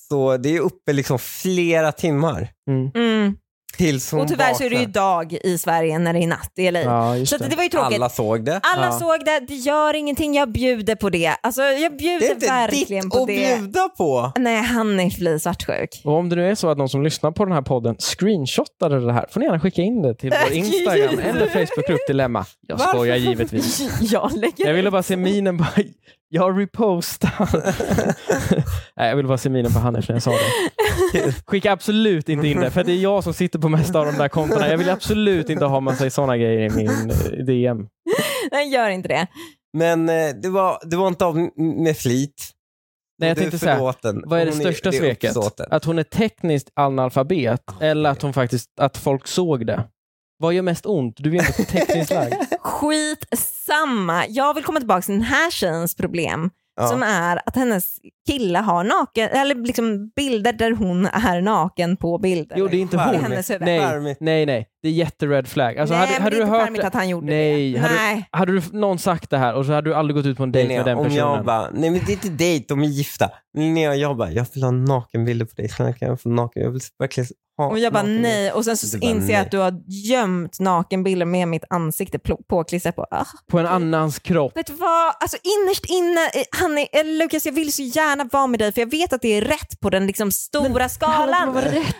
C: så det är uppe liksom flera timmar.
B: Mm.
C: Tills hon
B: Och tyvärr så är det ju
C: vaknar.
B: dag i Sverige när det är natt i LA.
A: Ja, just
B: Eh, så att det
A: det.
B: var ju tråkigt.
C: Alla såg det.
B: Alla
A: Ja.
B: såg det, det gör ingenting, jag bjuder på det. Alltså jag bjuder
C: Det är inte
B: verkligen
C: ditt
B: på
C: att
B: det.
C: bjuda på.
B: Nej, Hanif blir svartsjuk.
A: Och om det nu är så att någon som lyssnar på den här podden screenshotade det här, får ni gärna skicka in det till vår Instagram eller Facebookgrupp Dilemma. Jag
C: Varför?
A: skojar givetvis.
B: Jag lägger
A: Jag ville bara se minen på... Jag repostar. Nej, jag ville bara se minen på Hanif när jag sa det. Skicka absolut inte in det, för det är jag som sitter på mesta av de där kontona. Jag vill absolut inte ha massa sådana grejer i min eh, DM.
B: Nej, gör inte det.
C: Men eh, det var, det var inte av m- med flit.
A: Nej, jag
C: Du är
A: tänkte så här,
C: förlåten.
A: Vad är det
C: Hon
A: största
C: det är
A: sveket?
C: uppsåten.
A: Att hon är tekniskt analfabet eller att hon faktiskt, att folk såg det? Vad gör mest ont? Du är inte tekniskt lagd.
B: Skitsamma. Jag vill komma tillbaka till den här tjejens problem
C: Ja.
B: som är att hennes kille har naken, eller liksom bilder där hon är naken på bilder.
A: Jo, det är inte
C: Det är
A: hon.
B: hennes huvud.
A: Nej,
C: Charmigt.
A: nej, nej. Det är jättered flag. Alltså,
B: Nej,
A: hade,
B: men
A: hade
B: det
A: du
B: är inte
A: hört
B: charmigt att han gjorde
A: Nej,
B: det.
A: hade du-
B: Nej,
A: Hade du någon sagt det här och så hade du aldrig gått ut på en dejt
C: Linnea,
A: med den
C: om
A: personen.
C: jag bara, nej men det är inte dejt, de är gifta. Linnea och jag bara, jag vill ha nakenbilder på dig. Snälla kan jag få naken? Jag vill verkligen ha
B: Och jag bara
C: nakenbilder.
B: nej och sen så
C: Du bara,
B: inser jag
C: nej.
B: att du har gömt nakenbilder med mitt ansikte pl- påklistrat på. Ah,
A: På en annans kropp.
B: vet du vad, alltså innerst inne, eh, Hanni, eller Lukas jag vill så gärna vara med dig för jag vet att det är rätt på den liksom stora skalan.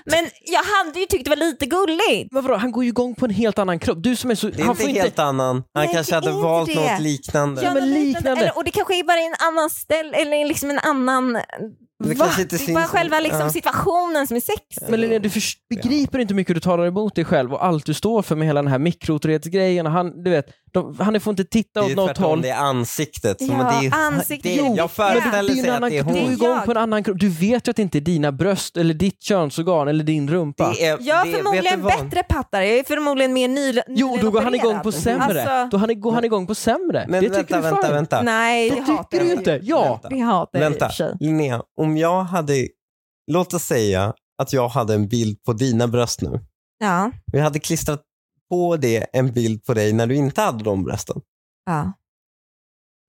B: Men jag hade ju tyckt det var lite gulligt.
A: Men vadå, han går ju igång på en helt annan kropp. Du som är så...
C: Det är
A: han
C: inte
A: får
C: helt annan. Han
B: Nej,
C: kanske
B: det är
C: hade
B: inte
C: valt
B: det.
C: något liknande.
A: Ja, men
B: något
A: liknande.
B: Eller, och det kanske är bara i en annan ställe eller liksom en annan...
C: Det
B: Va?
C: kanske inte
B: det är
C: syns
B: bara
C: som-
B: själva liksom
C: ja.
B: situationen som är sexig.
A: Men Linnea, du förs- begriper inte hur mycket du talar emot dig själv och allt du står för med hela den här mikrotorhetsgrejen. Och Han, du vet, de, han får inte titta
C: Det är
A: åt
C: ju
A: något
C: tvärtom,
A: håll.
C: det är ansiktet.
B: Ja,
C: men det är ju,
B: ansiktet.
C: Det är,
B: Jo,
C: jag
B: men det är
A: Det
C: föreställer
A: är ju en
C: sig att
A: annan,
C: det är
A: du går
C: hon.
B: ju-
A: igång
B: Jag.
A: på en annan kropp. Du vet ju att det inte är dina bröst eller ditt könsorgan eller din rumpa.
C: Det är,
B: Jag har
C: det, vet
B: förmodligen
C: du vad?
B: bättre pattar, jag är förmodligen mer ny,
A: Jo, då går han igång på sämre.
B: Alltså,
A: Då han, går han igång på sämre.
C: Men
A: det tycker
C: vänta,
A: du fan.
C: vänta, vänta.
B: nej,
A: Det
B: jag hatar
A: tycker du
B: det.
A: inte. Ja.
C: Vänta.
B: Det hatar jag i och
C: Vänta,
B: för sig.
C: Linnea, om jag hade, låt oss säga att jag hade en bild på dina bröst nu.
B: Ja,
C: Vi hade klistrat på det en bild på dig när du inte hade de brösten.
B: ja,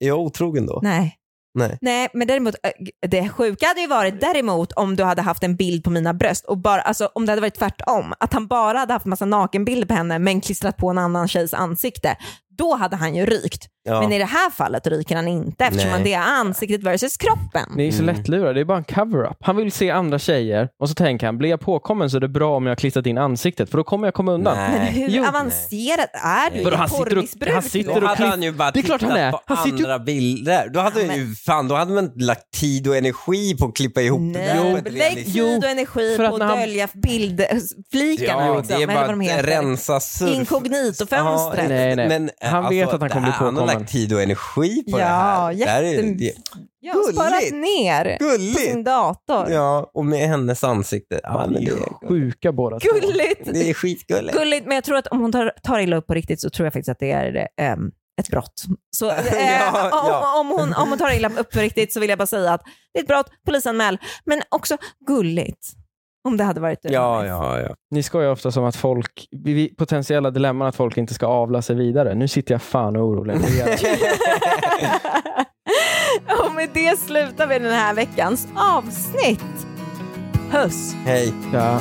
C: Är jag otrogen då?
B: nej.
C: Nej.
B: Nej, men däremot, äh, det sjuka hade ju varit däremot om du hade haft en bild på mina bröst och bara, alltså om det hade varit tvärtom, att han bara hade haft massa nakenbilder på henne men klistrat på en annan tjejs ansikte. Då hade han ju rykt.
C: Ja.
B: Men i det här fallet ryker han inte eftersom
C: Nej.
B: han- det är ansiktet versus kroppen.
A: Ni är så
C: Mm.
A: lättlurade, det är bara en cover-up. Han vill se andra tjejer och så tänker han, blir jag påkommen så är det bra om jag har klistrat in ansiktet för då kommer jag komma undan.
B: Men
C: Nej.
B: hur
A: Jo.
B: avancerat är du
A: Vadå,
B: i
A: han sitter och-
B: porrmissbruk?
A: han sitter
B: då?
A: och-
C: Då hade han ju bara
A: Det är klart
C: tittat
A: han är.
C: på
A: Han sitter ju-
C: andra bilder. Då hade,
B: Ja,
C: han ju, fan, då hade man inte lagt tid och energi på att klippa ihop det liksom- där. på
B: Nej,
C: ett
B: lägg
C: realistiskt-
A: Jo,
B: tid och energi
A: för att
B: på
A: när
B: att
A: han-
B: dölja bildflikarna.
C: Ja,
B: liksom,
C: det är
B: eller vad de
C: bara att
B: heter.
C: rensa surf...
B: Inkognitofönstret.
A: Nej, nej.
C: Men, eh,
A: Han vet att han kommer
C: det
A: bli
C: här- Han har
A: påkommen.
C: lagt tid och energi på
B: Ja,
C: det här. Det här är ju-
B: jätte-
C: det-
B: Jag har sparat
C: Gulligt.
B: ner på
C: Gulligt!
B: sin dator.
C: Ja, och med hennes ansikte. Ja, men det, är-
A: Sjuka båda två.
B: Gulligt!
C: det är skitgulligt.
B: Gulligt, men jag tror att om hon tar, tar illa upp på riktigt så tror jag faktiskt att det är ehm, ett brott. Så eh,
C: Ja,
B: om,
C: ja.
B: Om, hon, om hon tar illa upp på riktigt så vill jag bara säga att det är ett brott, polisanmäl. Men också gulligt. Om det hade varit du.
C: Ja, ja, ja.
A: Ni skojar ofta som att folk, vi- vi- potentiella dilemman att folk inte ska avla sig vidare. Nu sitter jag fan och orolig. Det är-
B: och med det slutar vi den här veckans avsnitt. Puss!
C: Hej.
A: Ja.